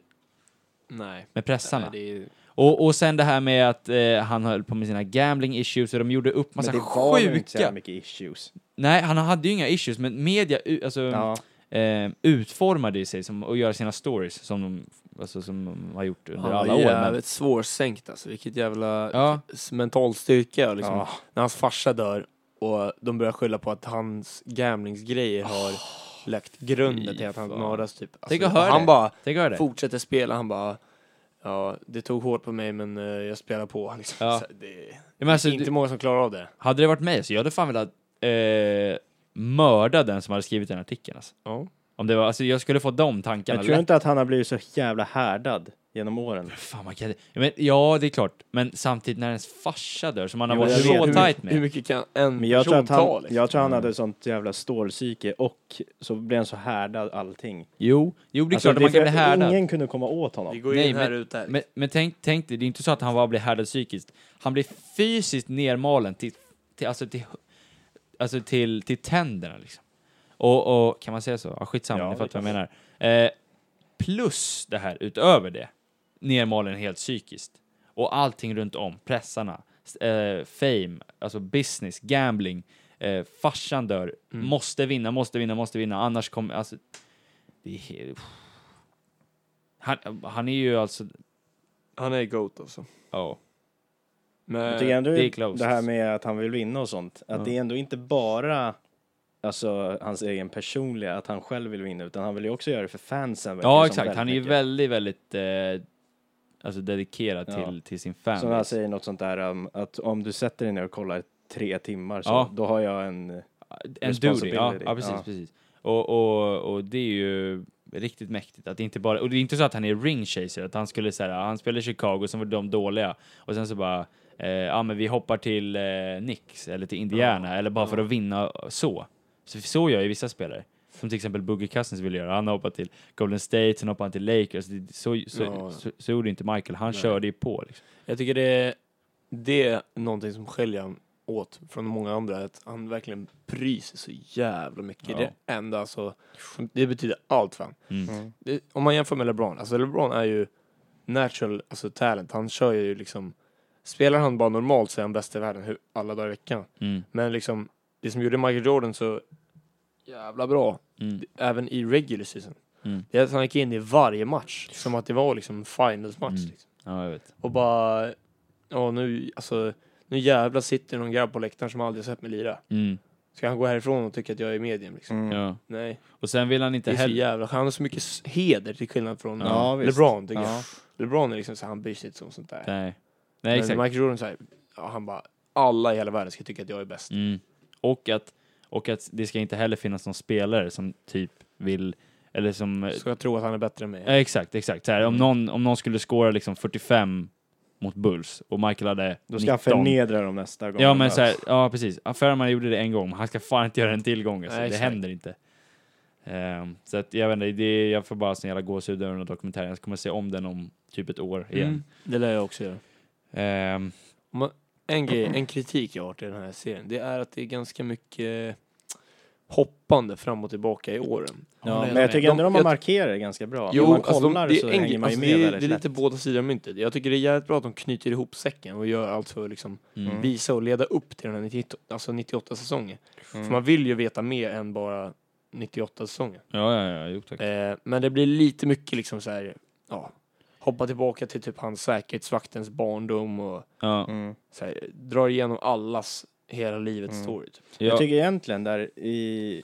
Speaker 2: Nej.
Speaker 1: med pressarna.
Speaker 2: Nej, det är...
Speaker 1: och, och sen det här med att eh, han höll på med sina gambling issues och de gjorde upp massa
Speaker 3: men det var ju inte så
Speaker 1: sjuka...
Speaker 3: jävla mycket issues.
Speaker 1: Nej, han hade ju inga issues, men media, u- alltså...
Speaker 3: Ja.
Speaker 1: eh, utformade ju sig som, och göra sina stories som de, alltså, som de har gjort under
Speaker 2: Han
Speaker 1: alla
Speaker 2: var
Speaker 1: år. Men,
Speaker 2: jävligt svårsänkt alltså, vilket jävla
Speaker 1: ja,
Speaker 2: s- mental styrka och liksom.
Speaker 3: Ja.
Speaker 2: När hans farsa dör och de börjar skylla på att hans gamlingsgrejer har lagt grunden
Speaker 1: fy
Speaker 2: till att han
Speaker 1: fan.
Speaker 2: mördas typ. Alltså,
Speaker 1: Tänk att
Speaker 2: och
Speaker 1: höra
Speaker 2: han
Speaker 1: det.
Speaker 2: bara
Speaker 1: tänk jag det.
Speaker 2: fortsätter spela, han bara Ja, det tog hårt på mig men eh, jag spelar på liksom.
Speaker 1: Ja.
Speaker 2: Så det är
Speaker 1: Ja, men alltså,
Speaker 2: inte
Speaker 1: du,
Speaker 2: många som klarar av det.
Speaker 1: hade det varit mig så jag hade fan velat eh, mörda den som hade skrivit den artikeln. Alltså.
Speaker 2: Ja.
Speaker 1: Om det var, alltså, jag skulle få de tankarna.
Speaker 3: Jag
Speaker 1: lätt.
Speaker 3: tror
Speaker 1: Mm,
Speaker 3: inte att han har blivit så jävla härdad genom åren.
Speaker 1: Fan, man kan, ja, men, ja, det är klart. Men samtidigt när ens farsa dör, som han har
Speaker 3: Jo,
Speaker 1: varit
Speaker 3: jag
Speaker 1: så
Speaker 3: vet.
Speaker 1: tajt
Speaker 2: Hur
Speaker 1: med.
Speaker 2: mycket kan en
Speaker 3: Men jag tror,
Speaker 2: person
Speaker 3: att han,
Speaker 2: ta? Liksom?
Speaker 3: jag tror han
Speaker 1: Mm.
Speaker 3: hade sånt jävla stålpsyke och så blev han så härdad allting.
Speaker 1: Jo, jo det är
Speaker 3: Alltså,
Speaker 1: klart att man kan
Speaker 3: för
Speaker 1: bli
Speaker 3: att
Speaker 1: härdad.
Speaker 3: Ingen kunde komma åt
Speaker 2: Vi
Speaker 3: honom.
Speaker 2: går
Speaker 1: Nej,
Speaker 2: in här
Speaker 1: men-
Speaker 2: ut där.
Speaker 1: Men, men tänk, tänk dig, det är inte så att han bara blir härdad psykiskt. Han blir fysiskt nermalen till, till, alltså till, alltså till, till tänderna. Liksom. Och, och kan man säga så? Ja, skitsamma,
Speaker 3: Ja,
Speaker 1: ni
Speaker 3: det
Speaker 1: fattar
Speaker 3: kan
Speaker 1: vad jag menar. Eh, plus det här, utöver det, nermalen helt psykiskt. Och allting runt om, pressarna, s- eh, fame, alltså business, gambling, eh, farsan dör,
Speaker 2: Mm.
Speaker 1: måste vinna, måste vinna, måste vinna, annars kommer... Alltså, det är, helt- han, han är ju alltså
Speaker 2: Han är GOAT alltså.
Speaker 1: Ja.
Speaker 3: Jag
Speaker 2: Men,
Speaker 3: tycker ändå
Speaker 1: det är
Speaker 3: det,
Speaker 1: close.
Speaker 3: här med att han vill vinna och sånt, att
Speaker 1: Ja.
Speaker 3: det är ändå inte bara alltså, hans egen personliga, att han själv vill vinna, utan han vill ju också göra det för fansen. verkar det
Speaker 1: Ja,
Speaker 3: som
Speaker 1: exakt. Han är ju
Speaker 3: mycket.
Speaker 1: väldigt, väldigt eh, alltså dedikerad
Speaker 3: Ja.
Speaker 1: till, till sin
Speaker 3: Som han
Speaker 1: fanbase.
Speaker 3: säger något sånt där um, att om du sätter dig ner och kollar tre timmar så
Speaker 1: Ja.
Speaker 3: då har jag en... eh,
Speaker 1: En duty.
Speaker 3: responsibility.
Speaker 1: Ja, ja, precis.
Speaker 3: Ja.
Speaker 1: precis. Och, och, och det är ju riktigt mäktigt. Att det inte bara, och det är inte så att han är ring chaser, att han skulle säga han spelar i Chicago, sen var de dåliga och sen så bara eh, ja, men vi hoppar till eh, Knicks eller till Indiana eller bara för att vinna så. Så, så gör ju vissa spelare. Som till exempel Boogie Cousins vill göra. Han hoppar till Golden State, sen hoppar han till Lakers. Det- Så, så,
Speaker 2: Ja.
Speaker 1: så, så gjorde inte Michael. Han
Speaker 2: Nej.
Speaker 1: körde ju på. Liksom.
Speaker 2: Jag tycker det, det är någonting som skiljer honom åt från många andra, att han verkligen bryr sig så jävla mycket.
Speaker 1: Ja.
Speaker 2: Det är det enda alltså, det betyder allt för honom.
Speaker 1: Mm.
Speaker 2: det, Om man jämför med LeBron, alltså LeBron är ju natural alltså talent, han kör ju liksom, spelar han bara normalt så är han bäst i världen hur, alla dagar i veckan.
Speaker 1: Mm.
Speaker 2: Men liksom, det som gjorde Michael Jordan så jävla bra,
Speaker 1: Mm.
Speaker 2: även i regular season.
Speaker 1: Mm.
Speaker 2: Det är att han gick in i varje match, som att det var liksom finals-match.
Speaker 1: Mm.
Speaker 2: Liksom.
Speaker 1: Ja, jag vet.
Speaker 2: Och bara, ja nu, alltså, nu jävla sitter någon grabb på läktaren som aldrig sett mig lira.
Speaker 1: Mm.
Speaker 2: Ska han gå härifrån och tycka att jag är medium liksom?
Speaker 3: Mm.
Speaker 1: Ja.
Speaker 2: Nej,
Speaker 1: Och sen vill han
Speaker 2: det
Speaker 1: inte
Speaker 2: är så
Speaker 1: heller...
Speaker 2: jävla, han har så mycket s- heder till skillnad från eh,
Speaker 3: Ja, visst.
Speaker 2: LeBron tycker
Speaker 3: Ja.
Speaker 2: jag. LeBron är liksom så här, han bryr sig inte om sånt där.
Speaker 1: Nej. Nej,
Speaker 2: Men
Speaker 1: exakt.
Speaker 2: Michael Jordan så här, ja, han bara, alla i hela världen ska tycka att jag är bäst.
Speaker 1: Mm. Och, att, och att det ska inte heller finnas någon spelare som typ vill, eller som...
Speaker 2: Ska jag tro att han är bättre än mig?
Speaker 3: Eh,
Speaker 1: Ja, exakt, exakt. Så här, om, någon, om någon skulle skåra liksom 45 mot Bulls och Michael hade
Speaker 3: Då ska han alltså.
Speaker 1: 19.
Speaker 3: förnedra dem nästa gång.
Speaker 1: Ja
Speaker 3: de
Speaker 1: men
Speaker 3: möts.
Speaker 1: så här, ja precis. Ja, Ferman gjorde det en gång, han ska fan inte göra en till gång. Alltså.
Speaker 2: Nej,
Speaker 1: det
Speaker 2: exakt.
Speaker 1: händer inte. Ehm, så att jag vet inte, det är, jag får bara sån jävla gåshud över den här dokumentären. Jag kommer se om den om typ ett år
Speaker 3: mm.
Speaker 1: igen.
Speaker 2: Det lär jag också göra.
Speaker 1: Ehm,
Speaker 2: En, grej, en kritik jag har till den här serien, det är att det är ganska mycket hoppande fram och tillbaka i åren.
Speaker 3: Ja, men jag tycker ändå de har
Speaker 2: jag-
Speaker 3: markerat det ganska bra.
Speaker 2: Jo,
Speaker 3: Om man
Speaker 2: alltså de,
Speaker 3: kollar
Speaker 2: det, är
Speaker 3: så
Speaker 2: en,
Speaker 3: hänger man ju
Speaker 2: alltså
Speaker 3: med
Speaker 2: det, är, det
Speaker 3: väldigt
Speaker 2: är
Speaker 3: lätt.
Speaker 2: lite båda sidor av myntet. Jag tycker det är jävligt bra att de knyter ihop säcken och gör allt för att liksom
Speaker 1: mm.
Speaker 3: Mm.
Speaker 2: visa och leda upp till den här 98, alltså 98 säsongen.
Speaker 3: Mm.
Speaker 2: För man vill ju veta mer än bara 98 säsongen.
Speaker 1: Ja, ja, ja, jo tack.
Speaker 2: Eh, men det blir lite mycket liksom så här, ja, hoppa tillbaka till typ hans säkerhetsvaktens barndom och
Speaker 1: Ja,
Speaker 3: Mm.
Speaker 2: så här, drar igenom allas hela livets
Speaker 3: Mm.
Speaker 2: story. Typ.
Speaker 1: ja.
Speaker 3: Jag tycker egentligen där i...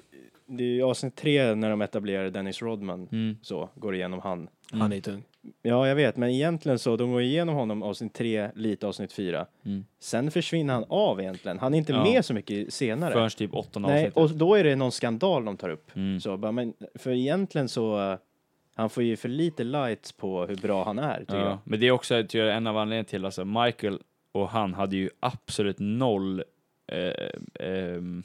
Speaker 3: Det är ju avsnitt tre när de etablerar Dennis Rodman.
Speaker 1: mm.
Speaker 3: Så, går igenom han.
Speaker 2: Han är tung.
Speaker 3: Ja, jag vet, men egentligen så, de går igenom honom avsnitt tre, lite avsnitt fyra.
Speaker 1: Mm.
Speaker 3: Sen försvinner han av egentligen. Han är inte
Speaker 1: Ja.
Speaker 3: med så mycket senare.
Speaker 1: Förrän typ åttonde
Speaker 3: Nej,
Speaker 1: avsnittet.
Speaker 3: och då är det någon skandal de tar upp.
Speaker 1: Mm.
Speaker 3: Så, bara, men, för egentligen så, eh, han får ju för lite lights på hur bra han är, tycker jag.
Speaker 1: Ja, men det är också tror jag, en av anledningarna till, alltså Michael och han hade ju absolut noll eh, ehm,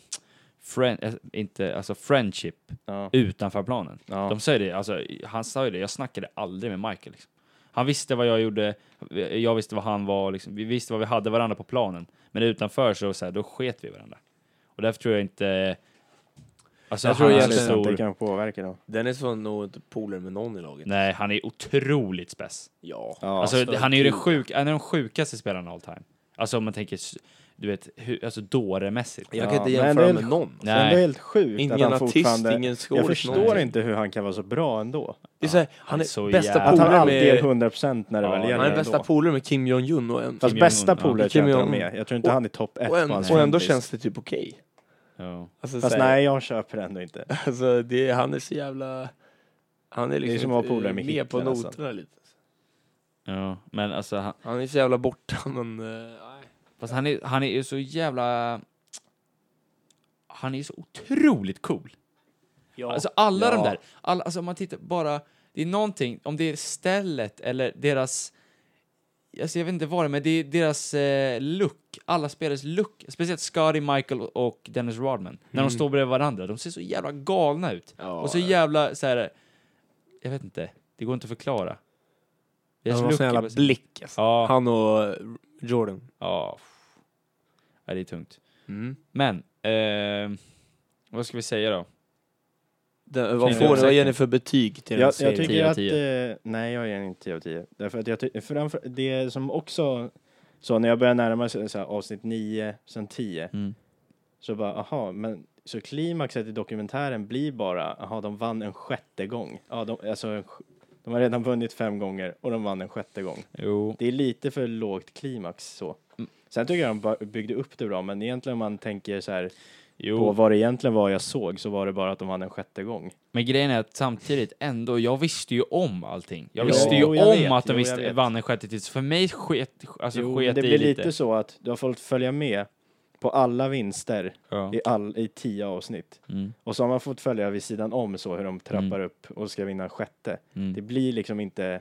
Speaker 1: friend, eh, inte, alltså friendship
Speaker 3: Ja.
Speaker 1: utanför planen.
Speaker 3: Ja.
Speaker 1: De säger det, alltså, han sa ju det, jag snackade aldrig med Michael. Liksom. Han visste vad jag gjorde, jag visste vad han var, liksom. vi visste vad vi hade varandra på planen. Men utanför så, så här, då sket vi varandra. Och därför tror jag inte... Alltså,
Speaker 2: Jag tror
Speaker 1: han är
Speaker 2: egentligen
Speaker 1: stor-
Speaker 3: att det kan påverka dem.
Speaker 2: Dennis var nog inte polare med någon i laget.
Speaker 1: Nej, han är otroligt spess.
Speaker 2: Ja.
Speaker 3: Ja.
Speaker 1: Alltså,
Speaker 2: Alltså,
Speaker 1: han är ju den
Speaker 2: gud.
Speaker 1: sjuk, en av de sjukaste spelarna all time. Alltså om man tänker, s- du vet, hur, alltså dåremässigt.
Speaker 2: Jag kan
Speaker 3: Ja,
Speaker 2: inte
Speaker 3: men
Speaker 2: jämföra
Speaker 3: det är-
Speaker 2: med någon.
Speaker 3: Det är ändå
Speaker 1: Nej,
Speaker 3: helt sjukt att
Speaker 2: Ingen
Speaker 3: han
Speaker 2: artist,
Speaker 3: fortfarande...
Speaker 2: ingen
Speaker 3: Jag
Speaker 2: skådis.
Speaker 3: förstår inte hur han kan vara så bra ändå.
Speaker 2: Det är så här, han
Speaker 1: är
Speaker 2: är
Speaker 1: så jävla-
Speaker 2: bästa
Speaker 3: Att han
Speaker 2: polare
Speaker 3: alltid
Speaker 2: med...
Speaker 3: är 100% när det
Speaker 1: Ja,
Speaker 3: väl
Speaker 1: han
Speaker 3: gäller
Speaker 2: Han är bästa
Speaker 3: ändå.
Speaker 2: polare med Kim Jong-Un och, en,
Speaker 3: Fast
Speaker 1: Kim
Speaker 3: bästa
Speaker 1: Jong-un, ja.
Speaker 3: polare tror jag
Speaker 2: Kim
Speaker 3: inte de
Speaker 2: Jong-un.
Speaker 3: är. Jag tror inte
Speaker 2: Och-
Speaker 3: han är topp ett
Speaker 2: och, en,
Speaker 3: på hans
Speaker 2: och ändå
Speaker 3: friendlist.
Speaker 2: känns det typ okej.
Speaker 1: ja.
Speaker 2: Alltså,
Speaker 3: Fast
Speaker 2: så här-
Speaker 3: nej, jag köper ändå inte.
Speaker 2: Alltså det, han är så jävla... Han är liksom
Speaker 3: som att ha
Speaker 2: inte
Speaker 3: polare med Hitler,
Speaker 2: på
Speaker 3: alltså.
Speaker 2: noterna lite.
Speaker 1: ja. Men alltså, han,
Speaker 2: Han är så jävla borta men... eh, nej.
Speaker 1: fast han är, han är ju så jävla... Han är ju så otroligt cool. Alltså alla de
Speaker 3: Ja.
Speaker 1: där, alla, alltså om man tittar bara, det är någonting, om det är stället eller deras, alltså jag vet inte vad det är, men det är deras eh, look, alla spelares look, speciellt Scotty, Michael och Dennis Rodman, när de står bredvid varandra, de ser så jävla galna ut.
Speaker 2: Ja,
Speaker 1: och så jävla så här. jag vet inte, det går inte att förklara. Deras
Speaker 2: han har
Speaker 1: look
Speaker 2: sån
Speaker 1: är
Speaker 2: jävla
Speaker 1: bara så-
Speaker 2: blick alltså.
Speaker 1: Ja,
Speaker 2: Han och eh, Jordan.
Speaker 1: ja. Ja, det är tungt. Men, eh, vad ska vi säga då?
Speaker 2: Den, vad
Speaker 1: Knyter
Speaker 2: får
Speaker 1: ihop
Speaker 2: ni, vad ger
Speaker 1: säcken.
Speaker 2: ni för betyg till den
Speaker 3: Jag, jag
Speaker 2: serien?
Speaker 3: tycker
Speaker 1: 10 av
Speaker 3: att...
Speaker 1: 10.
Speaker 3: Eh, nej, jag ger inte 10 av 10. Därför att jag ty- framför, det som också... Så när jag börjar närma sig så här, avsnitt 9, sen 10,
Speaker 1: Mm.
Speaker 3: så bara, aha, men så klimaxet i dokumentären blir bara, aha, de vann en sjätte gång. Ja, de, alltså, en sj- de har redan vunnit fem gånger och de vann en sjätte gång.
Speaker 1: Jo.
Speaker 3: Det är lite för lågt klimax så. Sen tycker jag de bara byggde upp det bra, men egentligen om man tänker så här
Speaker 1: jo.
Speaker 3: på vad det egentligen var jag såg så var det bara att de vann en sjätte gång.
Speaker 1: Men grejen är att samtidigt ändå, jag visste ju om allting. Jag
Speaker 3: Jo,
Speaker 1: visste ju
Speaker 3: jo, jag
Speaker 1: om
Speaker 3: vet,
Speaker 1: att de
Speaker 3: jo, jag
Speaker 1: visste,
Speaker 3: vet.
Speaker 1: vann en sjätte titel, så för mig sket, alltså,
Speaker 3: Jo,
Speaker 1: sket
Speaker 3: det
Speaker 1: i
Speaker 3: blir
Speaker 1: lite.
Speaker 3: lite. så att du har fått följa med på alla vinster
Speaker 1: Ja.
Speaker 3: i, all, i tio avsnitt.
Speaker 1: Mm,
Speaker 3: Och så har man fått följa vid sidan om så hur de trappar
Speaker 1: Mm.
Speaker 3: upp och ska vinna en sjätte.
Speaker 1: mm.
Speaker 3: Det blir liksom inte,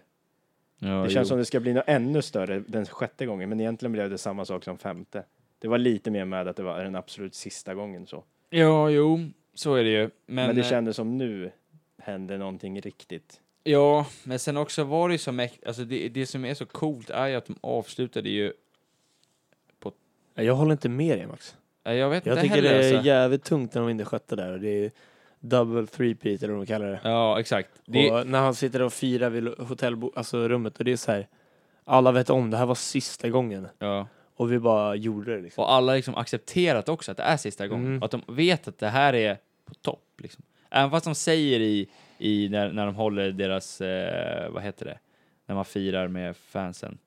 Speaker 1: ja,
Speaker 3: det känns
Speaker 1: jo.
Speaker 3: som det ska bli något ännu större den sjätte gången, men egentligen blev det samma sak som femte. Det var lite mer med att det var den absolut sista gången så.
Speaker 1: Ja, jo, så är det ju.
Speaker 3: Men,
Speaker 1: Men,
Speaker 3: det
Speaker 1: eh,
Speaker 3: kändes som nu händer någonting riktigt.
Speaker 1: Ja, men sen också var det ju så mäktigt, alltså det, det som är så coolt är ju att de avslutade ju,
Speaker 2: Nej, Jag håller inte med dig Max.
Speaker 1: Nej, jag vet
Speaker 2: Jag
Speaker 1: inte
Speaker 2: tycker
Speaker 1: heller
Speaker 2: det är
Speaker 1: alltså.
Speaker 2: jävligt tungt när de vinner sjätte där och det är double three-peat eller vad de kallar det.
Speaker 1: Ja, exakt. Det,
Speaker 2: Och när han sitter och firar vid hotellrummet alltså rummet och det är så här. Alla vet om det här var sista gången
Speaker 1: ja.
Speaker 2: och vi bara gjorde det liksom.
Speaker 1: Och alla liksom accepterat också att det är sista gången.
Speaker 2: Mm.
Speaker 1: Och att de vet att det här är på topp. Liksom. Även fast de säger i, i när, när de håller deras, eh, vad heter det, när man firar med fansen.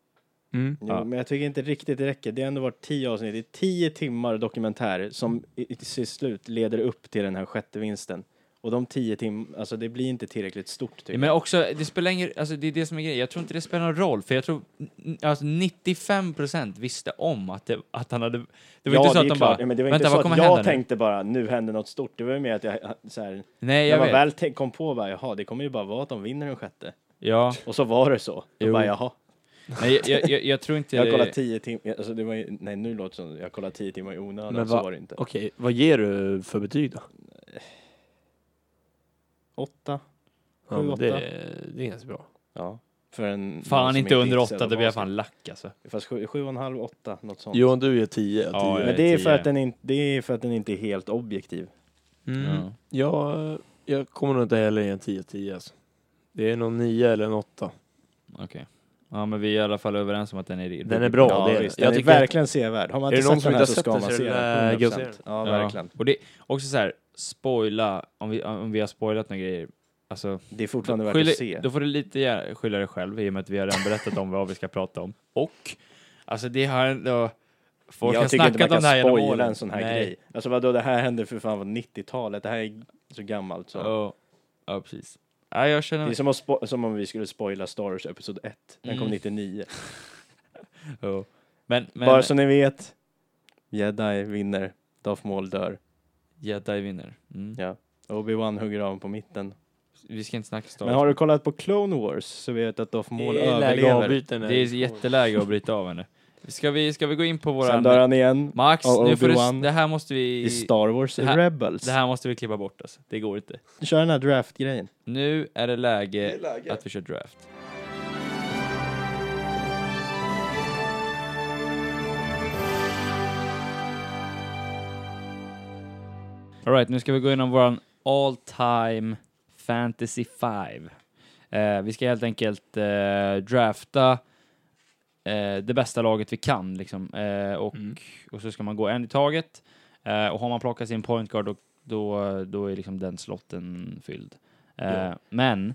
Speaker 2: Mm.
Speaker 3: Jo,
Speaker 1: Ja.
Speaker 3: Men jag tycker inte riktigt det räcker. Det har ändå varit tio avsnitt, det är tio timmar dokumentär som i, i till slut leder upp till den här sjätte vinsten. Och de tio timmarna, alltså det blir inte tillräckligt stort tycker
Speaker 1: Men
Speaker 3: jag.
Speaker 1: också, det spelar ingen, alltså det är det som är grejen. Jag tror inte det spelar någon roll, för jag tror n- alltså 95% visste om att, det, att han hade... Det var
Speaker 3: ja,
Speaker 1: inte så
Speaker 3: är
Speaker 1: att de
Speaker 3: klart.
Speaker 1: bara,
Speaker 3: Ja, men det var
Speaker 1: vänta
Speaker 3: inte så
Speaker 1: vad
Speaker 3: att
Speaker 1: kommer
Speaker 3: jag
Speaker 1: hända
Speaker 3: tänkte bara, nu händer något stort. Det var ju mer att jag, så här,
Speaker 1: nu? Nej,
Speaker 3: när
Speaker 1: jag
Speaker 3: man
Speaker 1: vet.
Speaker 3: väl te- kom på bara, jaha, det kommer ju bara vara att de vinner den sjätte.
Speaker 1: Ja,
Speaker 3: Och så var det så. Då
Speaker 1: Jo.
Speaker 3: bara, jaha.
Speaker 1: nej, jag, jag, jag, jag tror inte...
Speaker 3: Jag kollade tio timmar, alltså det var ju, nej nu låter det som, jag kollade tio timmar i onödan,
Speaker 2: Men
Speaker 3: så
Speaker 2: vad-
Speaker 3: var det inte.
Speaker 2: Okej, vad ger du för betyg då?
Speaker 3: Åtta.
Speaker 2: Ja,
Speaker 3: Sju,
Speaker 2: men det,
Speaker 3: åtta.
Speaker 2: det är ganska bra.
Speaker 3: Ja. För en, någon
Speaker 1: Fan
Speaker 3: som
Speaker 1: inte under
Speaker 3: är
Speaker 1: 8,
Speaker 3: intresserad
Speaker 1: då
Speaker 3: av
Speaker 1: blir jag
Speaker 3: basket.
Speaker 1: fan lack alltså.
Speaker 3: Fast sju, sju och en halv, åtta, något sånt.
Speaker 2: Johan, du är 10
Speaker 1: Ja, jag
Speaker 3: Men det är,
Speaker 1: tio.
Speaker 3: för att den in, det är för att den inte är helt objektiv.
Speaker 2: Mm.
Speaker 1: Ja.
Speaker 2: Jag, jag kommer nog inte heller ge en 10-10 alltså. Det är någon 9 eller en 8.
Speaker 1: Ja, men vi är i alla fall överens om att den är...
Speaker 2: Den är bra,
Speaker 3: ja,
Speaker 2: det är
Speaker 3: visst,
Speaker 2: den. Jag
Speaker 3: den är
Speaker 2: tycker-
Speaker 3: verkligen sevärd. Har man
Speaker 2: Är det
Speaker 3: inte
Speaker 2: någon
Speaker 3: sett
Speaker 2: som
Speaker 3: den här
Speaker 2: inte
Speaker 3: så
Speaker 2: har sett
Speaker 3: ska man
Speaker 2: den så
Speaker 3: se
Speaker 2: är det,
Speaker 3: den.
Speaker 2: äh,
Speaker 3: 100%.
Speaker 2: gå
Speaker 3: Ja,
Speaker 1: Ja.
Speaker 3: verkligen.
Speaker 1: Och det är också så här, spoila, om vi, om vi har spoilat några grejer. Alltså,
Speaker 3: Det är fortfarande värt
Speaker 1: skyll-
Speaker 3: att se.
Speaker 1: Då får du lite gär- skylla dig själv i och med att vi har redan berättat om vad vi ska prata om. Och, alltså det har ändå... Folk har
Speaker 3: jag tycker inte
Speaker 1: snackat
Speaker 3: man
Speaker 1: om det här
Speaker 3: kan
Speaker 1: genom
Speaker 3: spoila
Speaker 1: åren.
Speaker 3: en sån här
Speaker 1: Nej.
Speaker 3: grej. Alltså vadå, det här hände för fan på 90-talet. Det här är så gammalt så.
Speaker 1: Ja, ja precis. Ja, jag känner
Speaker 3: Det är som, att spo- som om vi skulle spoila Star Wars Episod 1. Den kom
Speaker 1: Mm.
Speaker 3: 99.
Speaker 1: Ja. Men, men
Speaker 3: Bara så ni vet, Jedi vinner, Darth Maul dör.
Speaker 1: Jedi vinner. Mm.
Speaker 3: Ja. Obi-Wan hugger av på mitten.
Speaker 1: Vi ska inte snacka Star
Speaker 3: Men
Speaker 1: Wars.
Speaker 3: har du kollat på Clone Wars så vet du att Darth Maul
Speaker 1: Eh,
Speaker 2: Det är läge att
Speaker 3: överlever.
Speaker 2: avbryta den här
Speaker 1: Det är
Speaker 2: diskussionen.
Speaker 1: jätteläge att bryta av henne. Ska vi, ska vi gå in på
Speaker 3: Sen dör
Speaker 1: våra...
Speaker 3: han igen.
Speaker 1: Max,
Speaker 3: och
Speaker 1: nu får du,
Speaker 3: Obi-Wan
Speaker 1: det här måste vi...
Speaker 3: I Star Wars
Speaker 1: Det här-
Speaker 3: Rebels.
Speaker 1: Det här måste vi klippa bort alltså. Det går inte.
Speaker 3: Kör den här draft-grejen.
Speaker 1: Nu är det läge, att vi kör draft. Alright, nu ska vi gå igenom våran all time fantasy five. Eh, vi ska helt enkelt eh, drafta eh, det bästa laget vi kan liksom. Eh, och,
Speaker 2: Mm.
Speaker 1: och så ska man gå en i taget. Eh, och har man plockat sin point guard då, då, då är liksom den slotten fylld. Eh,
Speaker 2: Ja.
Speaker 1: Men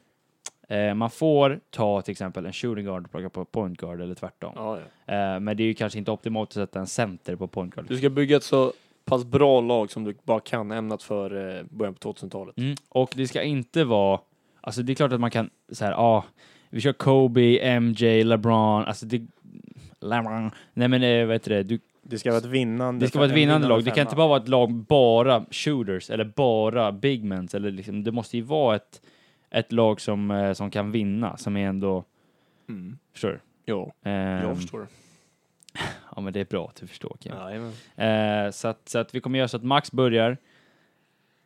Speaker 1: eh, man får ta till exempel en shooting guard och plocka på point guard eller tvärtom.
Speaker 2: Ja, ja.
Speaker 1: Eh, men det är ju kanske inte optimalt att sätta en center på point guard.
Speaker 2: Du ska bygga ett så pass bra lag som du bara kan ämnat för eh, början på 2000-talet.
Speaker 1: Mm. Och det ska inte vara, alltså det är klart att man kan så här, ah, vi kör Kobe, MJ, LeBron, alltså det, LeBron, nej men eh, vad heter det, du,
Speaker 3: Det ska vara ett vinnande.
Speaker 1: det ska vara ett vinnande lag, det kan inte bara vara ett lag bara shooters eller bara bigmans, eller liksom, det måste ju vara ett, ett lag som, eh, som kan vinna, som är ändå,
Speaker 2: Mm.
Speaker 1: förstår du?
Speaker 2: Jo,
Speaker 1: Ehm,
Speaker 2: jag förstår.
Speaker 1: Ja men det är bra att du förstår Kim.
Speaker 2: Jajamän.
Speaker 1: Eh, så, att, så att vi kommer göra så att Max börjar,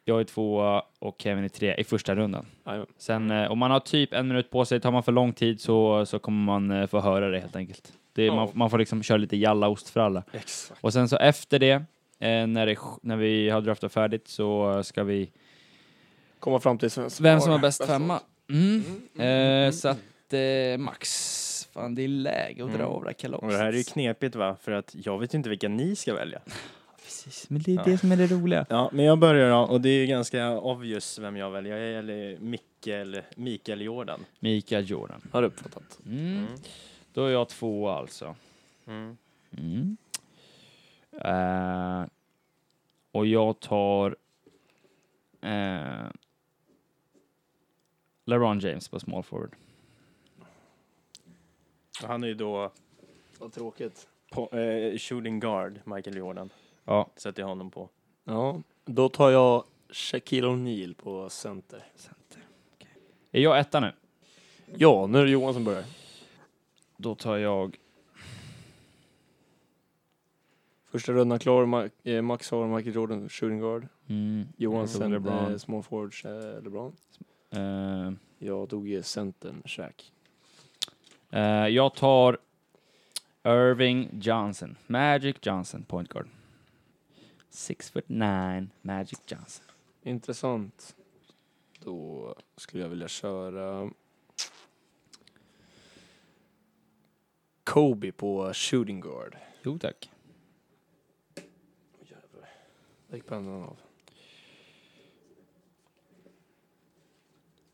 Speaker 1: jag är tvåa och Kevin är tre i första rundan.
Speaker 2: Jajamän.
Speaker 1: Sen
Speaker 2: Mm.
Speaker 1: eh, om man har typ en minut på sig, tar man för lång tid så, så kommer man eh, få höra det helt enkelt. Det,
Speaker 2: Ja.
Speaker 1: man, man får liksom köra lite jalla ost för alla.
Speaker 2: Exakt.
Speaker 1: Och sen så efter det, eh, när, det när vi har draftat färdigt så eh, ska vi...
Speaker 2: Komma fram till vem som,
Speaker 1: Vem som har bäst
Speaker 2: lag.
Speaker 1: femma? Mm. Eh, så att eh, Max, fan det är läge att dra
Speaker 3: Mm.
Speaker 1: av det här kalaset.
Speaker 3: Och det här är ju knepigt va, för att jag vet ju inte vilka ni ska välja.
Speaker 1: Precis, men det är
Speaker 3: Ja.
Speaker 1: det som är det roliga.
Speaker 3: Ja, men jag börjar då, och det är ju ganska obvious vem jag väljer. Jag gäller Mikael, Mikael Jordan.
Speaker 1: Mikael Jordan.
Speaker 2: Har du uppfattat?
Speaker 1: Mm. Då är jag två alltså. Mm. Eh, och jag tar eh, LeBron James på small forward.
Speaker 3: Och han är ju då
Speaker 2: Vad tråkigt.
Speaker 3: på, eh, shooting guard, Michael Jordan.
Speaker 1: Ja,
Speaker 3: Sätter jag honom på.
Speaker 2: Ja, då tar jag Shaquille O'Neal på center.
Speaker 1: är jag etta nu?
Speaker 2: Ja, nu är det Johan som börjar.
Speaker 1: Då tar jag...
Speaker 2: Första rundan klar, Ma- eh, Max har Michael Jordan, shooting guard.
Speaker 1: Mm,
Speaker 2: Johan
Speaker 1: jag tog
Speaker 2: sen
Speaker 1: LeBron.
Speaker 2: Eh, small forwards, eh, LeBron.
Speaker 1: Eh,
Speaker 2: Jag tog eh, centern, Shaq.
Speaker 1: eh, jag tar Irving Johnson. Magic Johnson, point guard. Six foot nine, Magic Johnson.
Speaker 2: Intressant. Då skulle jag vilja köra Kobe på shooting guard.
Speaker 1: Jo tack.
Speaker 2: Där gick pennan av.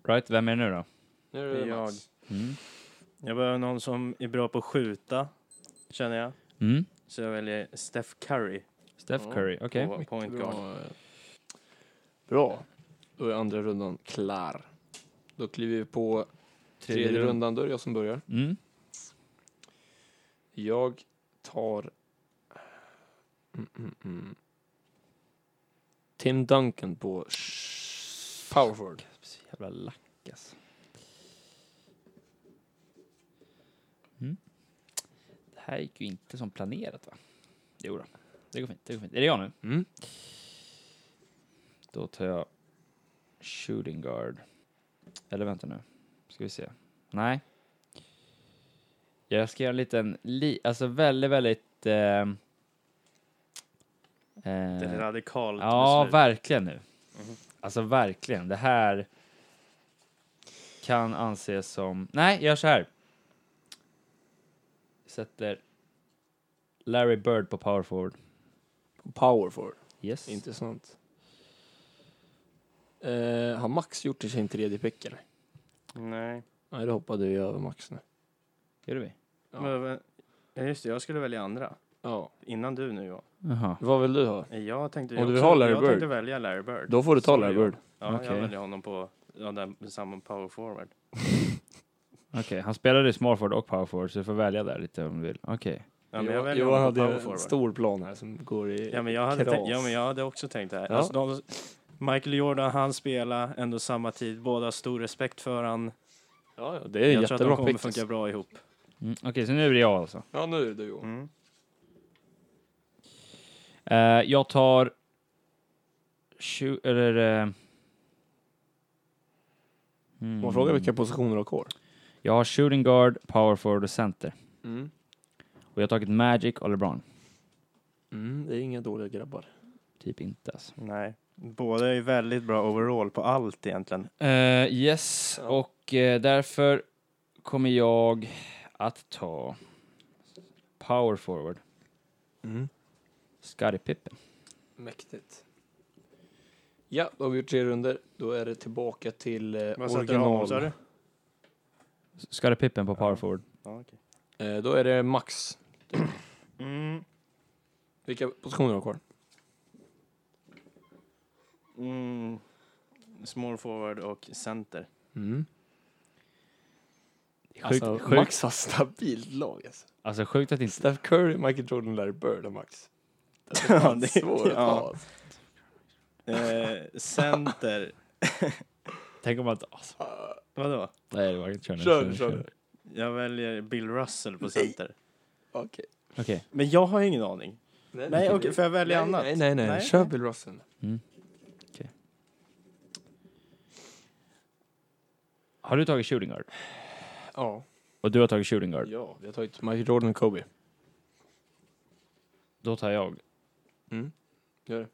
Speaker 1: Right, vem är det nu då?
Speaker 2: Nu är det
Speaker 3: Jag.
Speaker 2: Mats.
Speaker 1: Mm.
Speaker 3: Jag behöver någon som är bra på att skjuta, känner jag.
Speaker 1: Mm.
Speaker 3: Så jag väljer Steph Curry
Speaker 1: Steph
Speaker 2: Ja.
Speaker 1: Curry, okej.
Speaker 3: på point guard.
Speaker 2: Bra. Bra. Då är andra rundan klar. Då kliver vi på tredje,
Speaker 1: rund-
Speaker 2: rundan. Då är det jag som börjar.
Speaker 1: Mm.
Speaker 2: Jag tar... Mm, mm, mm. Tim Duncan på sh- power forward.
Speaker 1: Så jävla lack alltså. Mm. Det här gick ju inte som planerat va? Jo då. det går fint. Det går fint. Är det jag nu?
Speaker 2: Mm.
Speaker 1: Då tar jag shooting guard. Eller vänta nu, ska vi se. Nej. Jag ska göra en liten, li- alltså väldigt, väldigt... ehm,
Speaker 3: Det är
Speaker 1: eh,
Speaker 3: ett radikalt
Speaker 1: Ja,
Speaker 3: beslut.
Speaker 1: verkligen nu.
Speaker 3: Mhm.
Speaker 1: Alltså verkligen. Det här kan anses som... Nej, gör så här. Sätter Larry Bird på power forward.
Speaker 2: Power forward.
Speaker 1: Yes.
Speaker 2: Intressant. Eh, har Max gjort sin tredje pick eller?
Speaker 3: Nej.
Speaker 2: Nej, det hoppade vi över Max nu.
Speaker 1: Gör vi?
Speaker 2: Ja.
Speaker 3: Men, eh, ja, just det, jag skulle välja andra.
Speaker 2: ja.
Speaker 3: Innan du nu, ja. Eh,
Speaker 1: Jaha.
Speaker 2: Vad vill du ha?
Speaker 3: Jag tänkte,
Speaker 2: Om du
Speaker 3: jag
Speaker 2: vill ha Larry
Speaker 3: jag
Speaker 2: Bird.
Speaker 3: tänkte välja Larry Bird.
Speaker 2: Då får du ta
Speaker 3: Så
Speaker 2: Larry
Speaker 3: gör jag.
Speaker 2: Bird.
Speaker 3: Ja, jag
Speaker 1: Okej.
Speaker 3: väljer honom på ja, den, samma power forward.
Speaker 1: Okej, han spelade i small forward och power forward, så du får välja där lite om du vill. Okej.
Speaker 3: Ja, men jag
Speaker 2: Johan-
Speaker 3: väljer
Speaker 2: Johan
Speaker 3: honom på
Speaker 2: hade
Speaker 3: power
Speaker 2: en
Speaker 3: forward.
Speaker 2: stor plan här som går i
Speaker 3: Ja, men jag hade, tänkt,
Speaker 2: kras.
Speaker 3: ja, men jag hade också tänkt det här.
Speaker 2: Ja.
Speaker 3: Alltså, de, Michael Jordan, han spelar ändå samma tid. Båda har stor respekt för han.
Speaker 2: ja, ja, det är en
Speaker 3: jag tror att de
Speaker 2: jättebra
Speaker 3: kommer
Speaker 2: pick. alltså.
Speaker 3: funka bra ihop.
Speaker 1: Mm, okej, så nu är det jag alltså.
Speaker 2: Ja, nu är det du Johan.
Speaker 3: Mm.
Speaker 1: Eh, jag tar... Tju- eller... eh,
Speaker 2: Man frågar vilka positioner du har kvar.
Speaker 1: hmm. Jag har shooting guard, power forward och center.
Speaker 2: Mm.
Speaker 1: Och jag har tagit Magic och LeBron.
Speaker 2: Mm, det är inga dåliga grabbar.
Speaker 1: Typ inte alltså.
Speaker 3: Nej. Båda är ju väldigt bra overall på allt egentligen.
Speaker 1: Eh, yes,
Speaker 2: Ja.
Speaker 1: och eh, därför kommer jag att ta power forward, Scottie Pippen.
Speaker 2: Mm. Mäktigt. Ja, då har vi gjort tre runder. Då är det tillbaka till eh,
Speaker 3: Vad satte du honom, sa
Speaker 2: original.
Speaker 3: du?
Speaker 1: Scottie Pippen på power forward.
Speaker 3: Ja, okej.
Speaker 2: Eh, då är det Max.
Speaker 3: Mm.
Speaker 2: Vilka positioner har du kvar?
Speaker 3: Mm. Small forward och center.
Speaker 2: Mm.
Speaker 1: Sjukt,
Speaker 2: Alltså,
Speaker 1: sjukt,
Speaker 2: Max har stabilt lag. Alltså.
Speaker 1: alltså sjukt att inte...
Speaker 2: Steph Curry, Michael Jordan, Larry Bird och Max. Det är
Speaker 3: Ja,
Speaker 2: fan
Speaker 3: det-
Speaker 2: svårt att
Speaker 3: ja.
Speaker 2: ta. Alltså.
Speaker 3: Eh, center.
Speaker 1: Tänk om man inte... Alltså,
Speaker 3: Vadå?
Speaker 1: nej, det var inte... Kör nu,
Speaker 2: Kör,
Speaker 1: nu,
Speaker 2: kör.
Speaker 1: nu.
Speaker 3: Jag väljer Bill Russell på center.
Speaker 2: Okej.
Speaker 1: Okej.
Speaker 3: Men jag har ingen aning. Nej, okej, får jag välja
Speaker 2: nej,
Speaker 3: annat?
Speaker 2: Nej, nej, nej.
Speaker 3: Nej.
Speaker 2: Kör Bill Russell.
Speaker 1: Har du tagit shooting guard?
Speaker 2: Ja.
Speaker 1: Och du har tagit shooting guard?
Speaker 2: Ja, vi har tagit Michael Jordan och Kobe.
Speaker 1: Då tar jag
Speaker 2: Mm. Gör det.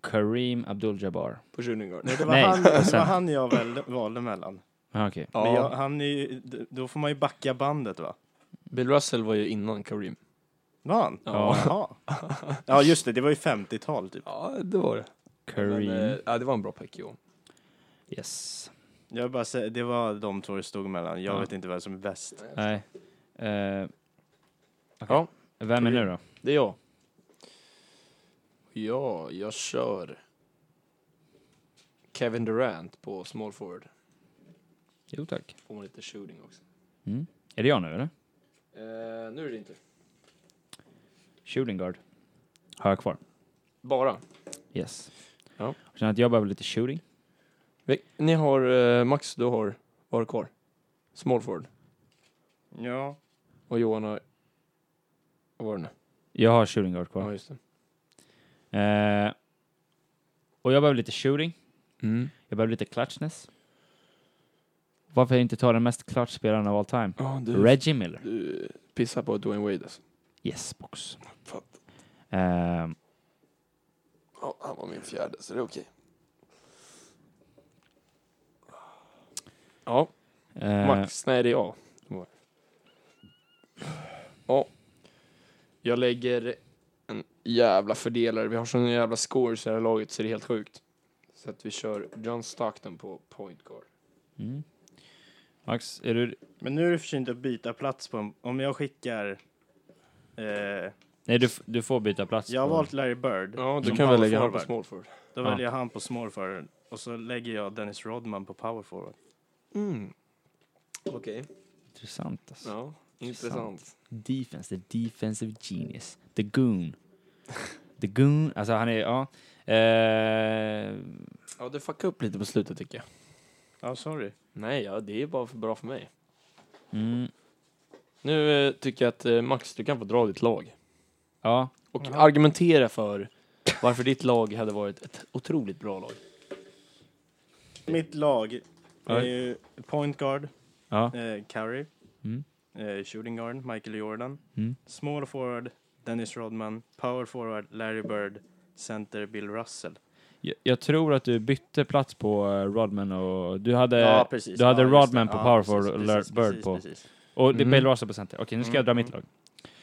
Speaker 1: Kareem Abdul-Jabbar.
Speaker 2: På shooting guard.
Speaker 3: Nej, det var,
Speaker 1: Nej,
Speaker 3: Han, det var
Speaker 1: center.
Speaker 3: han jag väl, valde mellan.
Speaker 1: Ah, Okej.
Speaker 2: Ja,
Speaker 3: Men jag, han är ju, d- då får man ju backa bandet va?
Speaker 2: Bill Russell var ju innan Kareem.
Speaker 3: Var han?
Speaker 1: Ja.
Speaker 3: Jaha. Ja just det, det var ju 50-tal typ.
Speaker 2: Ja, det var det.
Speaker 1: Kareem.
Speaker 2: Men, eh, ja, det var en bra pick, Johan.
Speaker 1: yes.
Speaker 3: Jag vill bara säger, det var de två det stod mellan. Jag
Speaker 1: Ja.
Speaker 3: vet inte vem som är bäst.
Speaker 1: Nej. Eh, okej.
Speaker 2: Ja.
Speaker 1: Vem är nu då?
Speaker 2: Det är jag. Ja, jag kör Kevin Durant på small forward.
Speaker 1: Jo tack.
Speaker 2: Får man lite shooting också.
Speaker 1: Mm. Är det jag nu eller?
Speaker 2: Eh, nu är det inte.
Speaker 1: Shooting guard. Har jag kvar.
Speaker 2: Bara.
Speaker 1: Yes.
Speaker 2: Ja.
Speaker 1: Jag Känner att jag behöver lite shooting.
Speaker 2: Vi- Ni har, eh, Max, du har, vad har du kvar? Small forward.
Speaker 3: Ja.
Speaker 2: Och Johan har, vad var det nu?
Speaker 1: Jag har shooting guard
Speaker 2: Ja,
Speaker 1: kvar.
Speaker 2: just det.
Speaker 1: Eh, och jag behöver lite shooting.
Speaker 2: Mm.
Speaker 1: Jag behöver lite clutchness. Varför inte ta den mest clutch-spelaren av all time?
Speaker 2: Ja, du,
Speaker 1: Reggie Miller.
Speaker 2: du pissar på Dwayne Wade alltså.
Speaker 1: Yes, box.
Speaker 2: Fan.
Speaker 1: Ehm,
Speaker 2: Ja, han var min fjärde, så det är okej. Ja,
Speaker 1: eh,
Speaker 2: Max. Nej, det är jag. Ja. Jag lägger en jävla fördelare. Vi har sån jävla scores i det här laget så det är helt sjukt. Så att vi kör John Stockton på point guard.
Speaker 1: Mm. Max, är du...
Speaker 3: Men nu är det för sent att byta plats på en, Om jag skickar... Eh,
Speaker 1: Nej, du, f- du får byta plats.
Speaker 3: jag har
Speaker 1: på-
Speaker 3: valt Larry Bird.
Speaker 2: Ja, du
Speaker 3: Som
Speaker 2: kan väl lägga
Speaker 3: power
Speaker 2: honom på small
Speaker 3: forward.
Speaker 2: forward.
Speaker 3: Då
Speaker 1: Ja.
Speaker 3: väljer jag han på small forward. Och så lägger jag Dennis Rodman på power forward.
Speaker 2: Mm. Okej.
Speaker 1: Intressant alltså.
Speaker 2: Ja, intressant.
Speaker 1: Defense, the defensive genius. The goon. The goon. Alltså han är, ja. Eh,
Speaker 2: Ja, du fuckade upp lite på slutet tycker jag.
Speaker 3: Ja, sorry.
Speaker 2: Nej, ja, det är bara för bra för mig.
Speaker 1: mm,
Speaker 2: Nu eh, tycker jag att eh, Max, du kan få dra ditt lag.
Speaker 1: ja.
Speaker 2: Och
Speaker 3: Jaha.
Speaker 2: argumentera för varför ditt lag hade varit ett otroligt bra lag.
Speaker 3: Mitt lag är
Speaker 1: Oj.
Speaker 3: ju point guard,
Speaker 1: Ja.
Speaker 3: eh, Curry.
Speaker 1: Mm.
Speaker 3: Eh, shooting guard, Michael Jordan.
Speaker 1: Mm.
Speaker 3: Small forward, Dennis Rodman. Power forward, Larry Bird. Center, Bill Russell.
Speaker 1: Jag, jag tror att du bytte plats på eh, Rodman och du hade,
Speaker 3: ja, precis.
Speaker 1: Eh, du hade
Speaker 3: ja, just
Speaker 1: Rodman
Speaker 3: det.
Speaker 1: på
Speaker 3: Ja,
Speaker 1: power
Speaker 3: precis,
Speaker 1: forward och
Speaker 3: precis,
Speaker 1: Larry Bird
Speaker 3: precis,
Speaker 1: på.
Speaker 3: precis.
Speaker 1: Och det är
Speaker 2: Mhm.
Speaker 1: Bill Russell på center. Okej, nu ska jag dra
Speaker 2: Mm,
Speaker 1: mitt lag.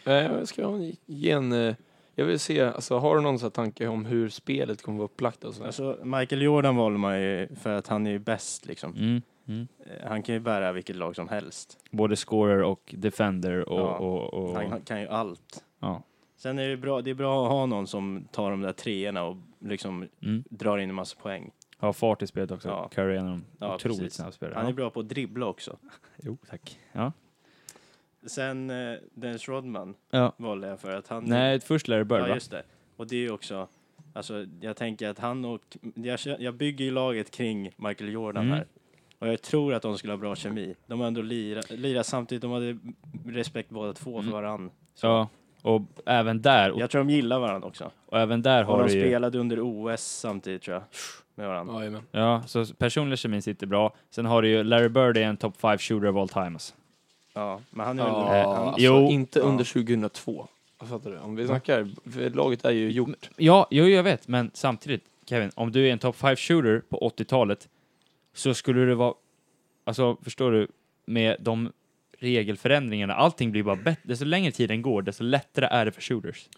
Speaker 2: Eh, ska jag ge en... eh, Jag vill se, alltså har du någon sån här tanke om hur spelet kommer vara upplagt och sådär?
Speaker 3: Alltså, Michael Jordan valde man ju för att han är ju bäst liksom.
Speaker 1: Mm, mm.
Speaker 3: Eh, Han kan ju bära vilket lag som helst.
Speaker 1: Både scorer och defender och...
Speaker 3: Ja.
Speaker 1: och, och
Speaker 3: Han han kan ju allt.
Speaker 1: ja.
Speaker 3: Sen är det bra, det är bra att ha någon som tar de där treorna och liksom
Speaker 1: Mm.
Speaker 3: drar in en massa poäng.
Speaker 1: Har fart i spelet också.
Speaker 3: Ja.
Speaker 1: Curry är en av de
Speaker 3: Ja,
Speaker 1: otroligt
Speaker 3: precis.
Speaker 1: snabb spelare.
Speaker 3: Han är
Speaker 1: Ja.
Speaker 3: bra på att dribbla också.
Speaker 1: Jo, tack. Ja.
Speaker 3: Sen eh, Dennis Rodman
Speaker 1: Ja.
Speaker 3: valde jag för att han...
Speaker 1: Nej, först Larry Bird
Speaker 3: ja,
Speaker 1: va?
Speaker 3: just det. Och det är ju också, alltså jag tänker att han och, jag, kö- jag bygger ju laget kring Michael Jordan
Speaker 1: Mm.
Speaker 3: här. Och jag tror att de skulle ha bra kemi. De har ändå lirat lira samtidigt, de hade respekt båda två
Speaker 1: Mm.
Speaker 3: för varann. Så.
Speaker 1: Ja. Och även där, och,
Speaker 3: Jag tror de gillar varandra också.
Speaker 1: och även där
Speaker 3: Och
Speaker 1: har
Speaker 3: de
Speaker 1: du ju...
Speaker 3: spelade under OS samtidigt tror jag, med varandra.
Speaker 2: Jajamän.
Speaker 1: Ja, så personlig kemin sitter bra. Sen har du ju Larry Bird är en top 5 shooter of all time. Alltså.
Speaker 3: Ja, men han är väl...
Speaker 1: Eh,
Speaker 2: Ja,
Speaker 3: han,
Speaker 2: alltså,
Speaker 1: jo.
Speaker 2: inte
Speaker 3: Ja.
Speaker 2: under 2002. Jag fattar du? Om vi snackar, för laget är ju gjort.
Speaker 1: Ja, jo, jag vet, men samtidigt Kevin, om du är en top 5 shooter på 80-talet så skulle du vara... Alltså, förstår du? Med de regelförändringarna, allting blir bara bättre. Desto längre tiden går, desto lättare är det för shooters.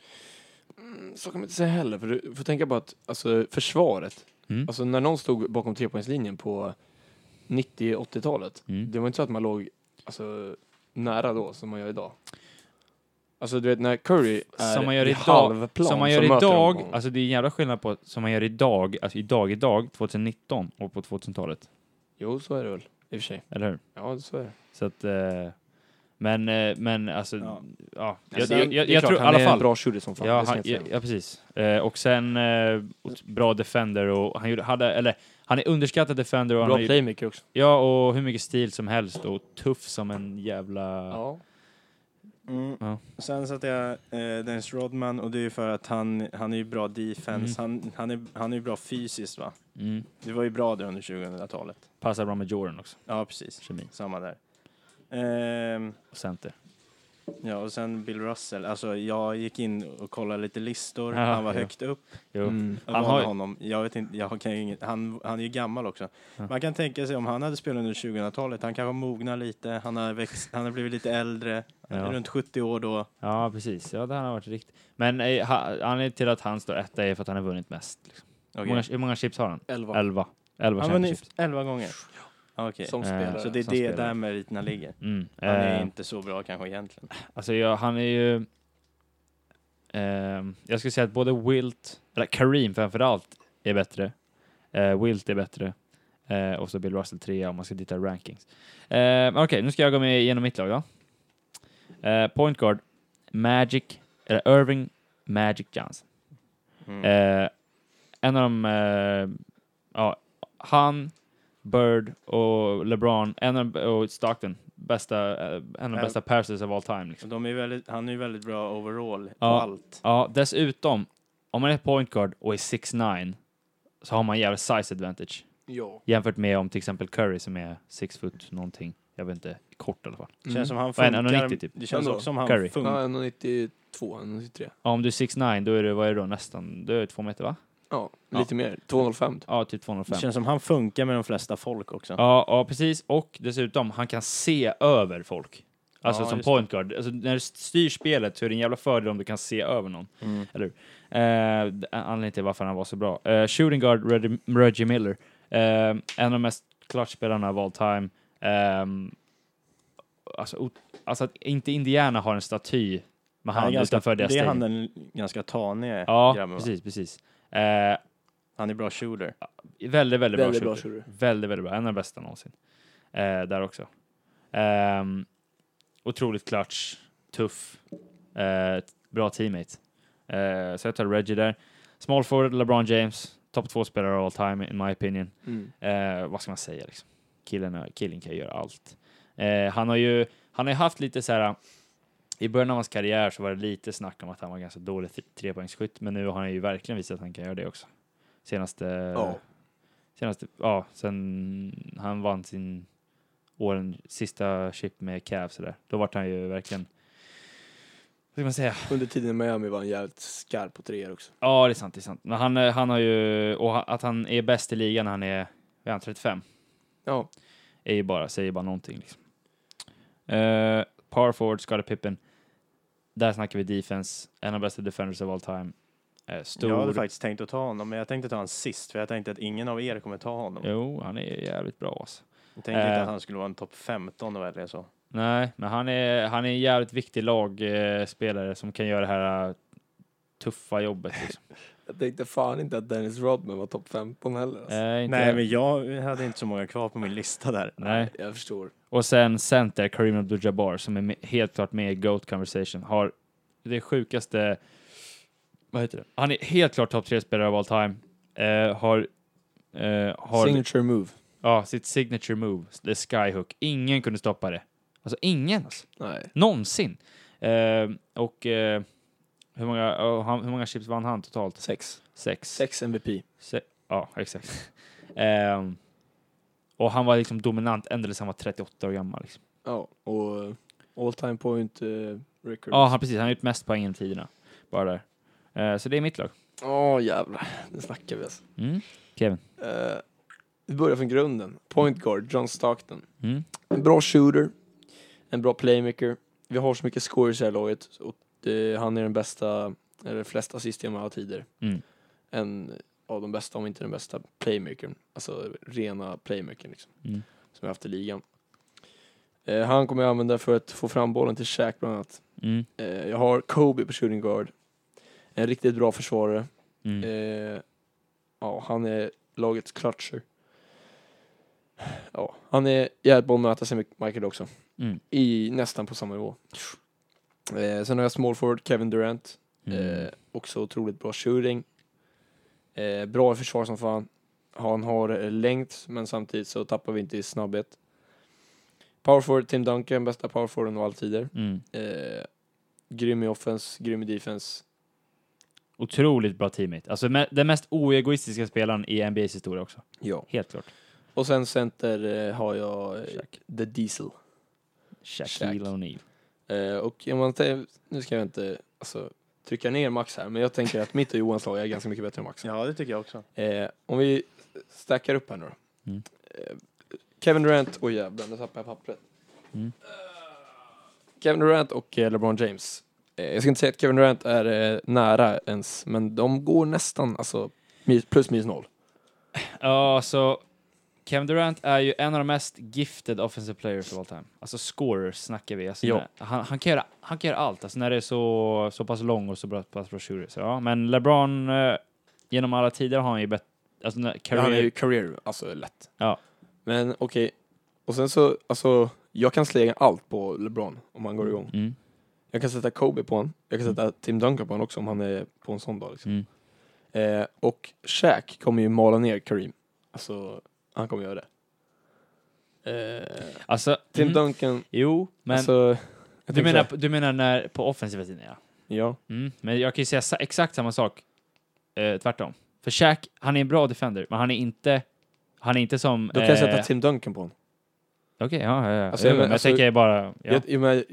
Speaker 2: Så kan man inte säga heller, för du får tänka på att alltså, försvaret,
Speaker 1: Mm.
Speaker 2: alltså när någon stod bakom trepoängslinjen på 90-80-talet,
Speaker 1: Mm.
Speaker 2: det var inte så att man låg alltså, nära då som man gör idag. Alltså du vet när Curry är
Speaker 1: Som man gör
Speaker 2: i
Speaker 1: idag-
Speaker 2: halvplan
Speaker 1: Som man
Speaker 2: så
Speaker 1: gör
Speaker 2: möter de
Speaker 1: idag,
Speaker 2: honom.
Speaker 1: alltså det är en jävla skillnad på som man gör idag, alltså idag, idag, 2019 och på 2000-talet.
Speaker 2: Jo, så är det väl. I och för sig.
Speaker 1: Eller hur?
Speaker 2: Ja, så är det.
Speaker 1: Så att... Eh, men, eh, men alltså... Ja.
Speaker 3: Ja.
Speaker 1: jag, Alltså,
Speaker 3: Sen-
Speaker 1: jag,
Speaker 2: Det är
Speaker 1: jag, jag
Speaker 2: klart,
Speaker 1: tror i
Speaker 2: han
Speaker 1: alla
Speaker 2: är en
Speaker 1: fall...
Speaker 2: bra shooter som fan.
Speaker 1: Ja,
Speaker 2: det ska
Speaker 1: han,
Speaker 2: jag
Speaker 1: ja,
Speaker 2: inte säga.
Speaker 1: ja, precis. Eh, och sen eh, ot- bra defender och han gjorde, hade, eller han är underskattad defender och han
Speaker 2: Bra
Speaker 1: har ju-
Speaker 2: playmaker också.
Speaker 1: ja, och hur mycket stil som helst och tuff som en jävla...
Speaker 2: Ja.
Speaker 3: Mm.
Speaker 1: Ja.
Speaker 3: Sen satte jag eh, Dennis Rodman och det är ju för att han, han är ju bra defense, han, han, är, han är ju bra fysiskt va?
Speaker 1: Mm.
Speaker 3: Det var ju bra det under 2000-talet.
Speaker 1: Passar bra med Jordan också,
Speaker 3: Ja, precis.
Speaker 1: kemi
Speaker 3: Samma där. Ehm,
Speaker 1: och center.
Speaker 3: ja, och sen Bill Russell. Alltså, jag gick in och kollade lite listor.
Speaker 1: Ja,
Speaker 3: han var
Speaker 1: ja.
Speaker 3: högt upp.
Speaker 1: Jo.
Speaker 2: Mm.
Speaker 1: Han
Speaker 3: Han
Speaker 1: har-
Speaker 3: har... honom. Jag vet inte, jag kan ju inget, han, han är ju gammal också.
Speaker 1: Ja.
Speaker 3: Man kan tänka sig om han hade spelat under 2000-talet. Han kanske mognar lite, han har, växt, han har blivit lite äldre. Han är
Speaker 1: Ja.
Speaker 3: runt 70 år då.
Speaker 1: Ja, precis. Ja, det har varit riktigt. Men eh, ha, anledningen till att han står etta är för att han har vunnit mest. Liksom.
Speaker 3: Okej.
Speaker 1: Många, hur många chips har han?
Speaker 2: Elva.
Speaker 1: Elva. Elva
Speaker 3: Han har
Speaker 1: championships.
Speaker 3: vunnit 11 gånger. Okej.
Speaker 2: Som
Speaker 1: Eh,
Speaker 2: spelare.
Speaker 3: Så det är
Speaker 1: som
Speaker 3: det
Speaker 1: spelare.
Speaker 3: där meriterna ligger.
Speaker 1: Mm.
Speaker 3: Han är
Speaker 1: Eh,
Speaker 3: inte så bra kanske egentligen.
Speaker 1: Alltså jag, han är ju... Ehm, jag skulle säga att både Wilt, eller Kareem framförallt, är bättre. Eh, Wilt är bättre. Eh, och så Bill Russell trea om man ska titta rankings. Eh, men Okej, nu ska jag gå med igenom mitt lag då. Eh, point guard, Magic, eller Irving Magic Johnson.
Speaker 3: Mm.
Speaker 1: Eh, en av de... Eh, ja, han, Bird och LeBron, en av, och Stockton, bästa, eh, en av de
Speaker 3: Eh,
Speaker 1: bästa passers of all time. Liksom.
Speaker 3: Och De är väldigt, han är ju väldigt bra overall på
Speaker 1: Ja.
Speaker 3: allt.
Speaker 1: Ja, dessutom, om man är point guard och är 6'9 så har man jävla size advantage
Speaker 2: Ja.
Speaker 1: jämfört med om till exempel Curry som är 6 foot någonting. Jag vet inte, kort i alla fall.
Speaker 3: Känns som han
Speaker 1: Mm. Vad är
Speaker 3: funkar.
Speaker 1: han, 1,90 typ?
Speaker 3: Det känns
Speaker 2: Ändå.
Speaker 3: också som han
Speaker 1: Curry.
Speaker 3: funkar.
Speaker 2: Ja, 192, 193.
Speaker 1: Ja, om du är 6'9 då är du, vad är du då, nästan, du är två meter va?
Speaker 2: Ja,
Speaker 1: Ja.
Speaker 2: lite mer. 205.
Speaker 1: Ja, typ
Speaker 3: Det
Speaker 1: 205.
Speaker 3: känns som han funkar med de flesta folk också.
Speaker 1: Ja, ja, precis. Och dessutom, han kan se över folk. Alltså
Speaker 3: Ja,
Speaker 1: som
Speaker 3: just det.
Speaker 1: point guard. Alltså, när du styr spelet så är det en jävla fördel om du kan se över någon.
Speaker 3: Mm.
Speaker 1: Eh, d- anledningen till varför han var så bra. Eh, shooting guard Reggie, Reggie Miller. Eh, en av de mest clutch-spelarna of all time. Ehm, alltså, o- alltså att inte Indiana har en staty med
Speaker 3: Han är
Speaker 1: han
Speaker 3: ganska,
Speaker 1: utanför
Speaker 3: det
Speaker 1: deras stadion.
Speaker 3: är han den ganska tanige
Speaker 1: Ja,
Speaker 3: grabben, va?
Speaker 1: precis, precis. Eh,
Speaker 3: Han är bra shooter.
Speaker 1: väldigt, väldigt,
Speaker 2: Väldigt
Speaker 1: bra
Speaker 2: bra
Speaker 1: shooter.
Speaker 2: shooter.
Speaker 1: Väldigt, väldigt bra. En av de bästa någonsin. Eh, där också. Ehm, otroligt clutch, tuff, eh, t- bra teammate. Eh, så jag tar Reggie där. Small forward, LeBron James. Topp två spelare of all time, in my opinion.
Speaker 2: Mm.
Speaker 1: Eh, vad ska man säga liksom? Killen, har- killen kan ju göra allt. Eh, han har ju han har ju haft lite så här. I början av hans karriär så var det lite snack om att han var ganska dålig t- trepoängsskytt, men nu har han ju verkligen visat att han kan göra det också. Senaste,
Speaker 2: Ja.
Speaker 1: senaste, ja, sen han vann sin åren, sista chip med Cavs och där. Då vart han ju verkligen, vad ska man säga,
Speaker 2: Under tiden i Miami var han jävligt skarp på treor också.
Speaker 1: Ja, det är sant. Det är sant. Men han, eh, han har ju, och ha- att han är bäst i ligan när han är, vad är han, 35?
Speaker 2: Ja.
Speaker 1: Är ju bara, säger bara någonting liksom. Eh, par forward, Scottie Pippen. Där snackar vi defense. En av de bästa defenders of all time. Eh,
Speaker 3: Jag hade
Speaker 1: stor.
Speaker 3: faktiskt tänkt att ta honom, men jag tänkte ta honom sist, för jag tänkte att ingen av er kommer ta honom.
Speaker 1: jo, han är jävligt bra alltså.
Speaker 3: Jag tänkte
Speaker 1: Eh.
Speaker 3: inte att han skulle vara en topp 15 och eller så.
Speaker 1: Nej, men han är, han är en jävligt viktig lagspelare eh, spelare som kan göra det här eh, tuffa jobbet. Liksom.
Speaker 2: Jag tänkte fan inte att Dennis Rodman var topp 15 heller. Alltså.
Speaker 1: Eh, inte-
Speaker 3: Nej, men jag hade inte så många kvar på min lista där.
Speaker 1: Nej.
Speaker 2: Jag förstår.
Speaker 1: Och sen center, Kareem Abdul-Jabbar, som är med, helt klart med i GOAT Conversation, har det sjukaste... Vad heter det? Han är helt klart topp tre spelare av all time. Eh, har... Eh, har
Speaker 2: Signature move.
Speaker 1: ja, sitt signature move, the skyhook. Ingen kunde stoppa det. Alltså ingen, alltså.
Speaker 2: Nej.
Speaker 1: Någonsin. Eh, och eh, hur, många, och han, hur många chips vann han totalt?
Speaker 2: Sex.
Speaker 1: Sex.
Speaker 2: Sex MVP.
Speaker 1: Se- ja, exakt. Ehm, och han var liksom dominant ända tills han var 38 år gammal. Liksom.
Speaker 2: Ja, och eh, all time point eh, record.
Speaker 1: Ja, han, precis. Han har gjort mest poäng genom tiderna. Bara där. Eh, så det är mitt lag.
Speaker 2: Åh jävlar, nu snackar vi alltså.
Speaker 1: Mm. Kevin.
Speaker 2: Eh, vi börjar från grunden. Point guard, John Stockton.
Speaker 1: Mm.
Speaker 2: En bra shooter, en bra playmaker. Vi har så mycket scores i det här laget och eh, han är den bästa, eller flest assist genom alla tider.
Speaker 1: Mm.
Speaker 2: En av de bästa, om inte den bästa, playmakern. Alltså rena playmakern liksom,
Speaker 1: Mm.
Speaker 2: som vi haft i ligan. Eh, han kommer jag använda för att få fram bollen till Shaq bland annat.
Speaker 1: Mm.
Speaker 2: Eh, jag har Kobe på shooting guard. En riktigt bra försvarare.
Speaker 1: Mm.
Speaker 2: Eh, ja, han är lagets clutcher. Ja, han är jävligt bra att möta sig med Michael också.
Speaker 1: Mm.
Speaker 2: I nästan på samma nivå. Eh, sen har jag small forward Kevin Durant. Eh,
Speaker 1: Mm.
Speaker 2: också otroligt bra shooting. Eh, bra i försvar som fan. Han har eh, längd, men samtidigt så tappar vi inte i snabbhet. Power forward Tim Duncan, bästa power forwarden av alla tider.
Speaker 1: Mm.
Speaker 2: Eh, grym i offens, grym i defens.
Speaker 1: Otroligt bra teammate. Alltså me- den mest oegoistiska spelaren i NBAs historia också.
Speaker 2: Ja.
Speaker 1: Helt klart.
Speaker 2: Och sen center eh, har jag eh,
Speaker 1: Shaq.
Speaker 2: The Diesel.
Speaker 1: Shaquille
Speaker 2: Shaq.
Speaker 1: O'Neal.
Speaker 2: Eh, och om man tä- nu ska jag inte alltså, trycka ner Max här, men jag tänker att mitt och Johans lag är ganska mycket bättre än Max.
Speaker 3: Ja, det tycker jag också.
Speaker 2: Eh, om vi stackar upp här nu då.
Speaker 1: Mm.
Speaker 2: Eh, Kevin Durant, oj jävlar, nu tappade jag pappret.
Speaker 1: Mm.
Speaker 2: Eh, Kevin Durant och eh, LeBron James. Eh, jag ska inte säga att Kevin Durant är eh, nära ens, men de går nästan alltså, mi- plus minus noll.
Speaker 1: Ja, så Kevin Durant är ju en av de mest gifted offensive players of all time. Alltså scorers snackar vi. Alltså,
Speaker 2: Ja.
Speaker 1: när- han, han, kan göra, han kan göra allt, alltså när det är så, så pass lång och så bra, pass bra shooter. Så, ja. Men LeBron, eh, genom alla tider har han ju bett... Alltså, när-
Speaker 2: Ja, han är
Speaker 1: career-
Speaker 2: ju career, alltså lätt.
Speaker 1: Ja.
Speaker 2: Men okej, och sen så, alltså, jag kan slänga allt på LeBron om han går igång.
Speaker 1: Mm.
Speaker 2: Jag kan sätta Kobe på honom, jag kan sätta Tim Duncan på honom också om han är på en sån dag. Liksom.
Speaker 1: Mm.
Speaker 2: Eh, och Shaq kommer ju mala ner Kareem. Alltså, han kommer göra det. Eh,
Speaker 1: Alltså,
Speaker 2: Tim
Speaker 1: mm.
Speaker 2: Duncan,
Speaker 1: Jo, men
Speaker 2: alltså... jag
Speaker 1: du,
Speaker 2: tänker
Speaker 1: menar,
Speaker 2: så här,
Speaker 1: du menar när, på offensiva sidan, ja.
Speaker 2: Ja,
Speaker 1: Mm. Men jag kan ju säga sa- exakt samma sak eh, tvärtom. För Shaq, han är en bra defender, men han är inte... Han är inte som...
Speaker 2: då kan jag
Speaker 1: eh,
Speaker 2: sätta Tim Duncan på honom.
Speaker 1: Okej, ja, ja, ja.
Speaker 2: Alltså,
Speaker 1: Jo,
Speaker 2: men
Speaker 1: men jag
Speaker 2: alltså-
Speaker 1: tänker bara... Ja.
Speaker 2: Jag, jag menar,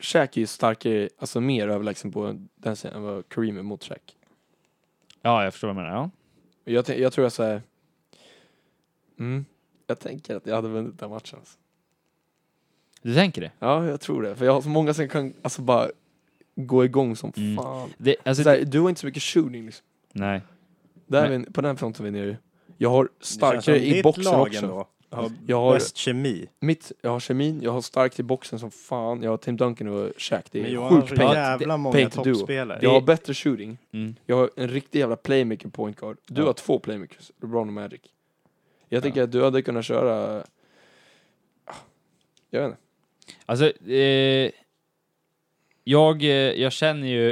Speaker 2: Shaq är ju starkare, alltså mer överlägsen på den sidan än vad Kareem är mot Shaq.
Speaker 1: ja, jag förstår vad du menar. Ja.
Speaker 2: Jag, tän- jag tror jag såhär... Mm. Jag tänker att jag hade vunnit den matchen. Alltså.
Speaker 1: Du tänker det?
Speaker 2: Ja, jag tror det. För jag har så många som kan alltså bara gå igång som
Speaker 1: Mm.
Speaker 2: fan.
Speaker 1: det alltså,
Speaker 2: Såhär, du har inte så mycket shooting liksom.
Speaker 1: nej.
Speaker 2: Där
Speaker 1: Men-
Speaker 2: är vi, på den fronten är vi nere. Jag har
Speaker 3: Det känns som
Speaker 2: starkare i
Speaker 3: ditt
Speaker 2: boxen
Speaker 3: lag
Speaker 2: också.
Speaker 3: ändå. har
Speaker 2: Jag har-
Speaker 3: bäst kemi.
Speaker 2: Mitt, jag har kemin, jag har starkt i boxen som fan, jag har Tim Duncan och Shaq. Det
Speaker 3: Men
Speaker 2: är
Speaker 3: Johan har
Speaker 2: sjukt
Speaker 3: så
Speaker 2: pengar.
Speaker 3: jävla många
Speaker 2: paint duo.
Speaker 3: toppspelare.
Speaker 2: Jag har bättre shooting,
Speaker 1: Mm.
Speaker 2: jag har en riktig jävla playmaker point guard. Du
Speaker 1: Ja.
Speaker 2: har två playmakers, LeBron och Magic. Jag
Speaker 1: Ja.
Speaker 2: tycker att du hade kunnat köra... ah, Jag vet inte.
Speaker 1: Alltså, eh, jag, eh, jag känner ju,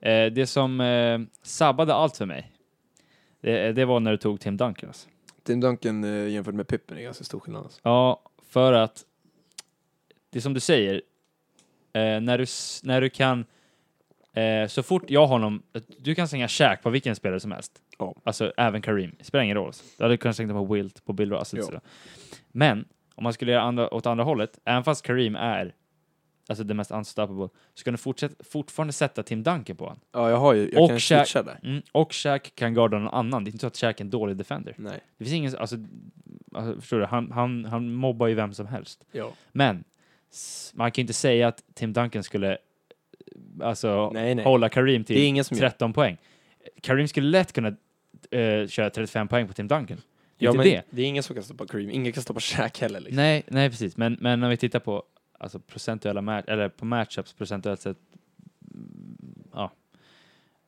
Speaker 1: eh, det som eh, sabbade allt för mig, det, det var när du tog Tim Duncan. Alltså.
Speaker 2: Tim Duncan eh, jämfört med Pippen är ganska stor skillnad. Alltså.
Speaker 1: Ja, för att det är som du säger, eh, när, du, s- när du kan, eh, så fort jag har honom, du kan slänga käk på vilken spelare som helst.
Speaker 2: Ja.
Speaker 1: Alltså även Kareem, det spelar ingen roll. Alltså. Du hade kunnat slänga på Wilt, på Bill Russell.
Speaker 2: Ja.
Speaker 1: sådär. Men om man skulle göra andra, åt andra hållet, även fast Kareem är alltså det mest unstoppable, så kan du fortsätta, fortfarande sätta Tim Duncan på honom.
Speaker 2: Ja, jag har ju, jag
Speaker 1: Och
Speaker 2: kan
Speaker 1: Shaq-
Speaker 2: switcha där.
Speaker 1: Mm. Och Shaq kan garda någon annan. Det är inte så att Shaq är en dålig defender.
Speaker 2: Nej.
Speaker 1: Det finns ingen, alltså, alltså förstår du, han, han, han mobbar ju vem som helst.
Speaker 2: Ja.
Speaker 1: Men s- man kan ju inte säga att Tim Duncan skulle alltså,
Speaker 2: Nej, nej.
Speaker 1: hålla Kareem
Speaker 2: Det är
Speaker 1: till
Speaker 2: ingen som gör.
Speaker 1: 13 poäng. Kareem skulle lätt kunna eh, köra 35 poäng på Tim Duncan. Det är
Speaker 2: Ja,
Speaker 1: inte
Speaker 2: men
Speaker 1: det.
Speaker 2: det är ingen som kan stoppa Kareem, ingen kan stoppa Shaq heller. Liksom.
Speaker 1: Nej, nej precis. Men, men när vi tittar på alltså, procentuella match, eller på matchups procentuellt sett, mm, ja,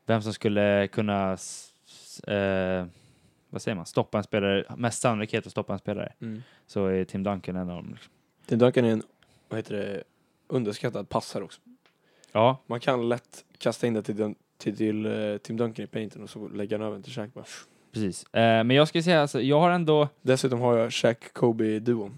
Speaker 1: vem som skulle kunna, s- s- eh, vad säger man, stoppa en spelare, mest sannolikhet att stoppa en spelare,
Speaker 2: Mm.
Speaker 1: så är Tim Duncan en av dem. liksom.
Speaker 2: Tim Duncan är en, vad heter det, underskattad passare också.
Speaker 1: Ja,
Speaker 2: Man kan lätt kasta in det till, Dun- till, till eh, Tim Duncan i painten och så lägga den över till Shaq bara.
Speaker 1: precis. Eh, men jag skulle säga, alltså, jag har ändå,
Speaker 2: Dessutom har jag Shaq-Kobe-duon.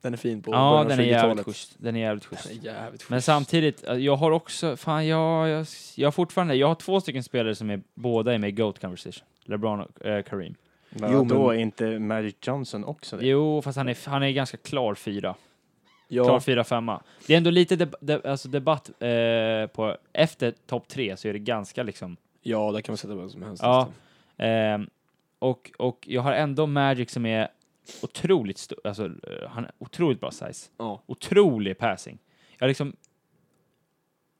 Speaker 2: Den är fin på
Speaker 1: Ja,
Speaker 2: början av
Speaker 1: den är jävligt
Speaker 2: 20-talet.
Speaker 1: schysst. Den är jävligt schysst.
Speaker 2: Den är jävligt schysst.
Speaker 1: Men samtidigt, eh, jag har också, fan jag, jag, jag har fortfarande, jag har två stycken spelare som är båda är med i GOAT conversation. LeBron och eh, Kareem.
Speaker 3: Men
Speaker 2: Jo,
Speaker 3: jo,
Speaker 2: men-
Speaker 3: då är inte Magic Johnson också det?
Speaker 1: Jo, fast han är, han är ganska klar fyra. Klar
Speaker 2: ja,
Speaker 1: fyra, femma. Det är ändå lite deb- de- alltså debatt eh, på, efter topp tre så är det ganska liksom,
Speaker 2: ja, där kan man sätta vem som helst.
Speaker 1: Ja.
Speaker 2: nästan.
Speaker 1: ehm, och, och jag har ändå Magic som är otroligt stor, alltså eh, han är otroligt bra size.
Speaker 2: ja.
Speaker 1: otrolig passing. Jag liksom...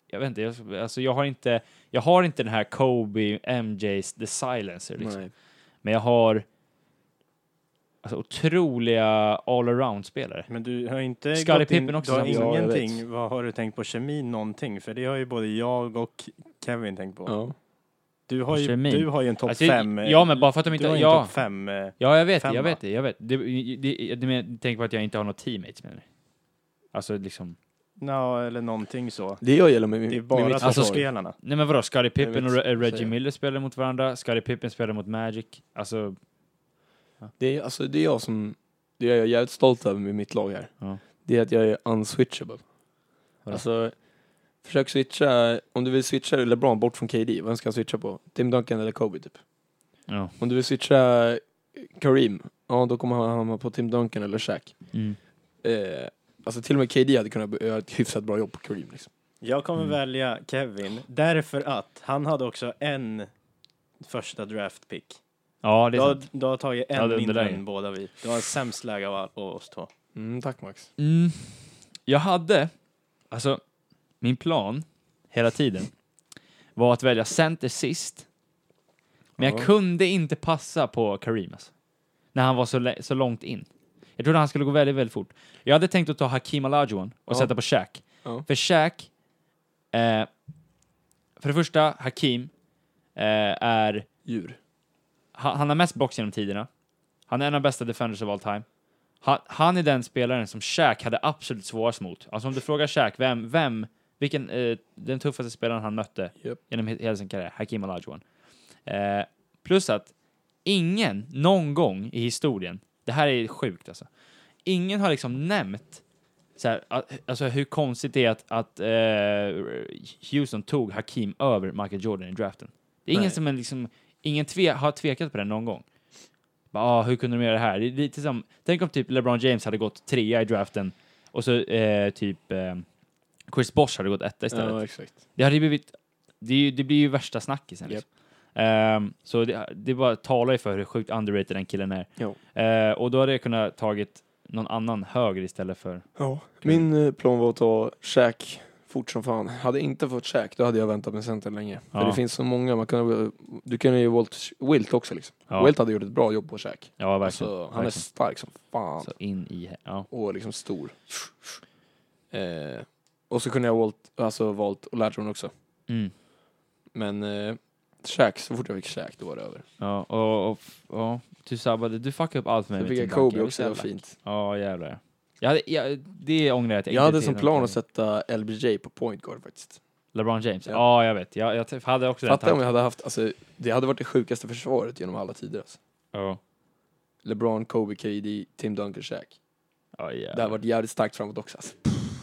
Speaker 1: Jag vet inte, jag, alltså jag har inte... Jag har inte den här Kobe, MJ's, The Silencer liksom.
Speaker 2: Nej.
Speaker 1: Men jag har... Alltså otroliga all-around-spelare.
Speaker 3: Men du har inte
Speaker 1: Scottie
Speaker 3: gått in-
Speaker 1: Pippen också
Speaker 3: Du har
Speaker 1: samma
Speaker 2: sak. Ja, jag vet.
Speaker 3: ingenting, vad har du tänkt på kemi någonting? För det har ju både jag och Kevin tänkt på.
Speaker 2: Ja.
Speaker 3: Du, har ju,
Speaker 1: Kemin.
Speaker 3: du har ju en topp
Speaker 1: Alltså,
Speaker 3: fem. eh,
Speaker 1: ja, men bara för att de
Speaker 3: du
Speaker 1: inte...
Speaker 3: har ju en
Speaker 1: Ja,
Speaker 3: topp fem. eh,
Speaker 1: ja, jag vet det,
Speaker 3: femma.
Speaker 1: jag vet det, jag vet. Det, det, det, du men- du tänker på att jag inte har något teammates menar du? Alltså liksom...
Speaker 3: Ja, eller någonting så.
Speaker 2: Det jag gillar med,
Speaker 3: Det är
Speaker 2: med, med
Speaker 3: bara
Speaker 2: mitt
Speaker 1: Alltså,
Speaker 2: försvar.
Speaker 3: toppspelarna.
Speaker 1: Nej men vadå, Scottie Pippen och
Speaker 2: vet
Speaker 1: Re-
Speaker 2: inte
Speaker 1: Reggie
Speaker 2: säga.
Speaker 1: Miller spelar mot varandra, Scottie Pippen spelar mot Magic. Alltså,
Speaker 2: Det är, alltså, det är jag som... Det är jag jävligt stolt över med mitt lag här.
Speaker 1: Ja.
Speaker 2: Det är att jag är unswitchable.
Speaker 1: Vadå?
Speaker 2: Alltså, försök switcha... Om du vill switcha LeBron bort från KD, vem ska han switcha på? Tim Duncan eller Kobe typ?
Speaker 1: ja.
Speaker 2: Om du vill switcha eh, Kareem, ja då kommer han hamna på Tim Duncan eller Shaq. Eh, alltså till och med KD hade kunnat göra ett hyfsat bra jobb på Kareem liksom.
Speaker 3: Jag kommer
Speaker 1: Mm.
Speaker 3: välja Kevin därför att han hade också en första draft pick.
Speaker 1: Ja, det
Speaker 3: Du
Speaker 1: är
Speaker 3: har,
Speaker 1: sant.
Speaker 3: du har tagit en
Speaker 1: Ja, det är
Speaker 3: mindre
Speaker 1: underläge.
Speaker 3: än båda vi. Du har sämst läge av all- av oss två.
Speaker 2: Mm, tack Max.
Speaker 1: Mm. Jag hade, alltså min plan hela tiden var att välja center sist. Men jag
Speaker 2: Ja.
Speaker 1: kunde inte passa på Karim alltså, när han var så, lä- så långt in. Jag trodde han skulle gå väldigt, väldigt fort. Jag hade tänkt att ta Hakim Olajuwon och
Speaker 2: Ja.
Speaker 1: sätta på Shaq.
Speaker 2: Ja.
Speaker 1: För Shaq, eh, för det första, Hakim eh, är
Speaker 2: Djur.
Speaker 1: han, han har mest box genom tiderna. Han är en av bästa defenders of all time. Han, han är den spelaren som Shaq hade absolut svårast mot. Alltså om du frågar Shaq, vem, vem, vilken, eh, den tuffaste spelaren han mötte
Speaker 2: Japp.
Speaker 1: genom he- hela sin karriär, Hakim Olajuwon. Eh, plus att ingen, någon gång i historien, det här är sjukt alltså, ingen har liksom nämnt så här, att, alltså hur konstigt det är att, att eh, Houston tog Hakim över Michael Jordan i draften. Det är ingen
Speaker 2: Nej.
Speaker 1: som är liksom, ingen tve, har tvekat på det någon gång. Bara, ah, hur kunde de göra det här? Det är lite som, tänk om typ LeBron James hade gått trea i draften och så eh, typ eh, Chris Bosh hade gått etta istället.
Speaker 2: Ja, exakt.
Speaker 1: Det hade ju blivit, det, är ju, det blir ju värsta snackisen. Liksom. Ehm, så det, det bara talar ju för hur sjukt underrated den killen är.
Speaker 2: Jo.
Speaker 1: Eh, och då hade jag kunnat tagit någon annan höger istället för...
Speaker 2: Min eh, plan var att ta Shaq, fort som fan. Hade inte fått käk, då hade jag väntat med center länge.
Speaker 1: Ja.
Speaker 2: För det finns så många, man kan, du kan ju Walt, Wilt också liksom.
Speaker 1: Ja.
Speaker 2: Wilt hade gjort ett bra jobb på käk.
Speaker 1: Ja, verkligen.
Speaker 2: Alltså, han är
Speaker 1: verkligen.
Speaker 2: stark som fan.
Speaker 1: Så in i... he- Ja.
Speaker 2: Och liksom stor. Eh, och så kunde jag Walt, alltså valt Olajuwon också.
Speaker 1: Mm.
Speaker 2: Men eh, käk, så fort jag fick käk då var det över.
Speaker 1: Ja, och, och, ja, du sabbade, du fuckade upp allt med
Speaker 2: Sen
Speaker 1: mig
Speaker 2: fick
Speaker 1: till
Speaker 2: jag
Speaker 1: backen.
Speaker 2: Kobe också, det var fint.
Speaker 1: Ja, jävlar. Jag hade, jag, det ångrar jag att jag,
Speaker 2: Jag
Speaker 1: inte
Speaker 2: hade som
Speaker 1: till-
Speaker 2: plan att sätta LBJ på point guard faktiskt.
Speaker 1: LeBron James?
Speaker 2: Ja.
Speaker 1: Ja, jag vet. Jag, jag t- hade också den
Speaker 2: Fatta om
Speaker 1: tanken.
Speaker 2: jag hade haft, alltså, det hade varit det sjukaste försvaret genom alla tider. Alltså.
Speaker 1: Ja.
Speaker 2: LeBron, Kobe, KD, Tim Duncan, Shaq.
Speaker 1: Ja,
Speaker 2: Det
Speaker 1: jävlar.
Speaker 2: hade varit jävligt starkt framåt också. Alltså.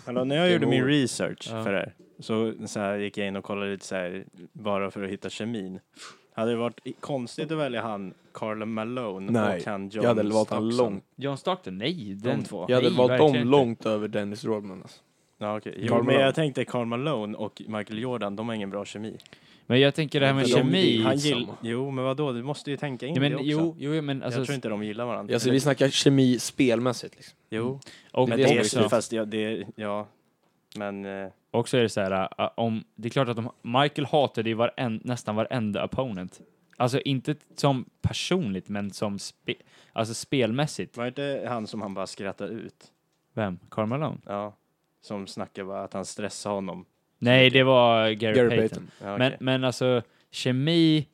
Speaker 3: Alltså, när jag gjorde min
Speaker 2: Game
Speaker 3: research
Speaker 1: Ja.
Speaker 3: för det här så, så här, gick jag in och kollade lite så här, bara för att hitta kemin. Hade det varit i- konstigt att välja han Carl Malone
Speaker 2: Nej,
Speaker 3: och han John
Speaker 2: Jag hade valt honom
Speaker 3: Stockton?
Speaker 2: långt.
Speaker 1: John Stockton? Nej,
Speaker 3: De
Speaker 1: den
Speaker 3: två.
Speaker 2: Jag hade
Speaker 1: nej,
Speaker 2: valt dem
Speaker 1: verkligen inte.
Speaker 2: långt över Dennis Rodman. Alltså.
Speaker 3: Ja, okej. Jo,
Speaker 2: Karl
Speaker 3: men
Speaker 2: Malone.
Speaker 3: jag tänkte Carl Malone och Michael Jordan, de har ingen bra kemi.
Speaker 1: Men jag tänker det här med
Speaker 2: För de-
Speaker 1: kemi.
Speaker 2: Skitsamma.
Speaker 3: Han gill... Jo, men vadå, du måste ju tänka in
Speaker 1: Ja,
Speaker 3: det
Speaker 1: men,
Speaker 3: också.
Speaker 1: jo, jo, men
Speaker 3: jag
Speaker 1: alltså...
Speaker 3: tror inte de gillar varandra.
Speaker 2: Alltså, vi snackar kemi spelmässigt. Liksom.
Speaker 3: Jo,
Speaker 1: Och,
Speaker 3: men
Speaker 2: det
Speaker 3: det
Speaker 2: är
Speaker 3: är
Speaker 1: också,
Speaker 3: fast ja, det, ja. Men eh,
Speaker 1: och så är det så här, äh, om, det är klart att de, Michael hatade ju varen, nästan varenda opponent. Alltså inte som personligt, men som spe, alltså spelmässigt.
Speaker 3: var det inte han som han bara skrattade ut?
Speaker 1: Vem? Karl Malone?
Speaker 3: Ja. Som snackade bara att han stressade honom.
Speaker 1: Nej, det var Gary,
Speaker 2: Gary
Speaker 1: Payton.
Speaker 2: Payton.
Speaker 3: Ja,
Speaker 1: Men,
Speaker 3: okej.
Speaker 1: men alltså, kemi...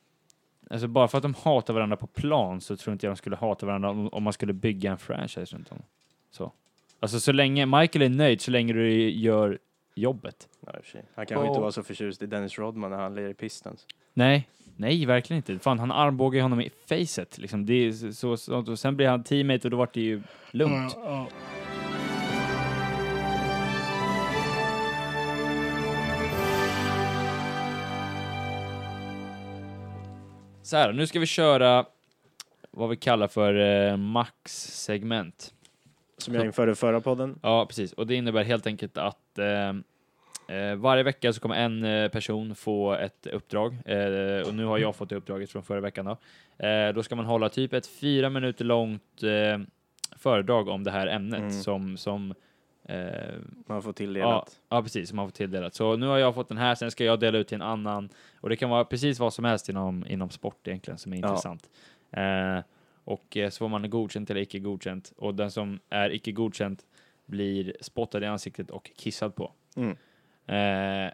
Speaker 1: Alltså bara för att de hatar varandra på plan så tror inte jag de skulle hata varandra om, om man skulle bygga en franchise runt om. Så. Alltså så länge Michael är nöjd, så länge du gör jobbet.
Speaker 3: Ja, i och för sig. Han kanske
Speaker 2: Ja.
Speaker 3: inte var så förtjust i Dennis Rodman när han lirade i Pistons.
Speaker 1: Nej, nej verkligen inte. Fan, han armbågar ju honom i facet. Liksom. Det är så, så, så, och sen blir han teammate och då vart det ju lugnt. Så här, nu ska vi köra vad vi kallar för eh, max-segment.
Speaker 3: Som jag införde i förra podden.
Speaker 1: Ja, precis. Och det innebär helt enkelt att eh, eh, varje vecka så kommer en eh, person få ett uppdrag. Eh, och nu har jag fått det uppdraget från förra veckan. Då, eh, då ska man hålla typ ett fyra minuter långt eh, föredrag om det här ämnet
Speaker 3: Mm.
Speaker 1: som, som eh,
Speaker 3: Man får tilldelat.
Speaker 1: Ja, precis, som man får tilldelat. Så nu har jag fått den här, sen ska jag dela ut till en annan. Och det kan vara precis vad som helst inom, inom sport egentligen som är
Speaker 3: Ja.
Speaker 1: intressant. Eh, och eh, så får man godkänt eller icke godkänt. Och den som är icke godkänt blir spottad i ansiktet och kissad på.
Speaker 3: Mm.
Speaker 1: Eh,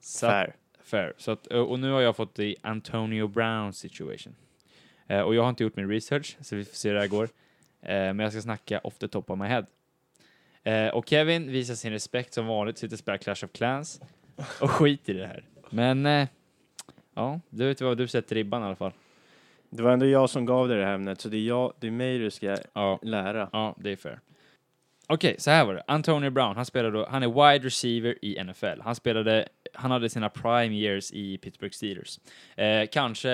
Speaker 1: så att-
Speaker 3: Fair.
Speaker 1: Fair. Så att, eh, och nu har jag fått the Antonio Brown situation. Eh, och jag har inte gjort min research, så vi får se hur det här går. Eh, men jag ska snacka off the top of my head. Eh, och Kevin visar sin respekt som vanligt, sitter och spelar Clash of Clans och skiter i det här. Men eh, ja, du vet vad du sätter ribban i alla fall.
Speaker 3: Det var ändå jag som gav dig det här ämnet, så det är, jag, det är mig du ska
Speaker 1: Ja,
Speaker 3: lära.
Speaker 1: ja det är fair. Okej, så här var det. Antonio Brown, han spelade då, han är wide receiver i NFL. Han spelade, han hade sina prime years i Pittsburgh Steelers. Eh, kanske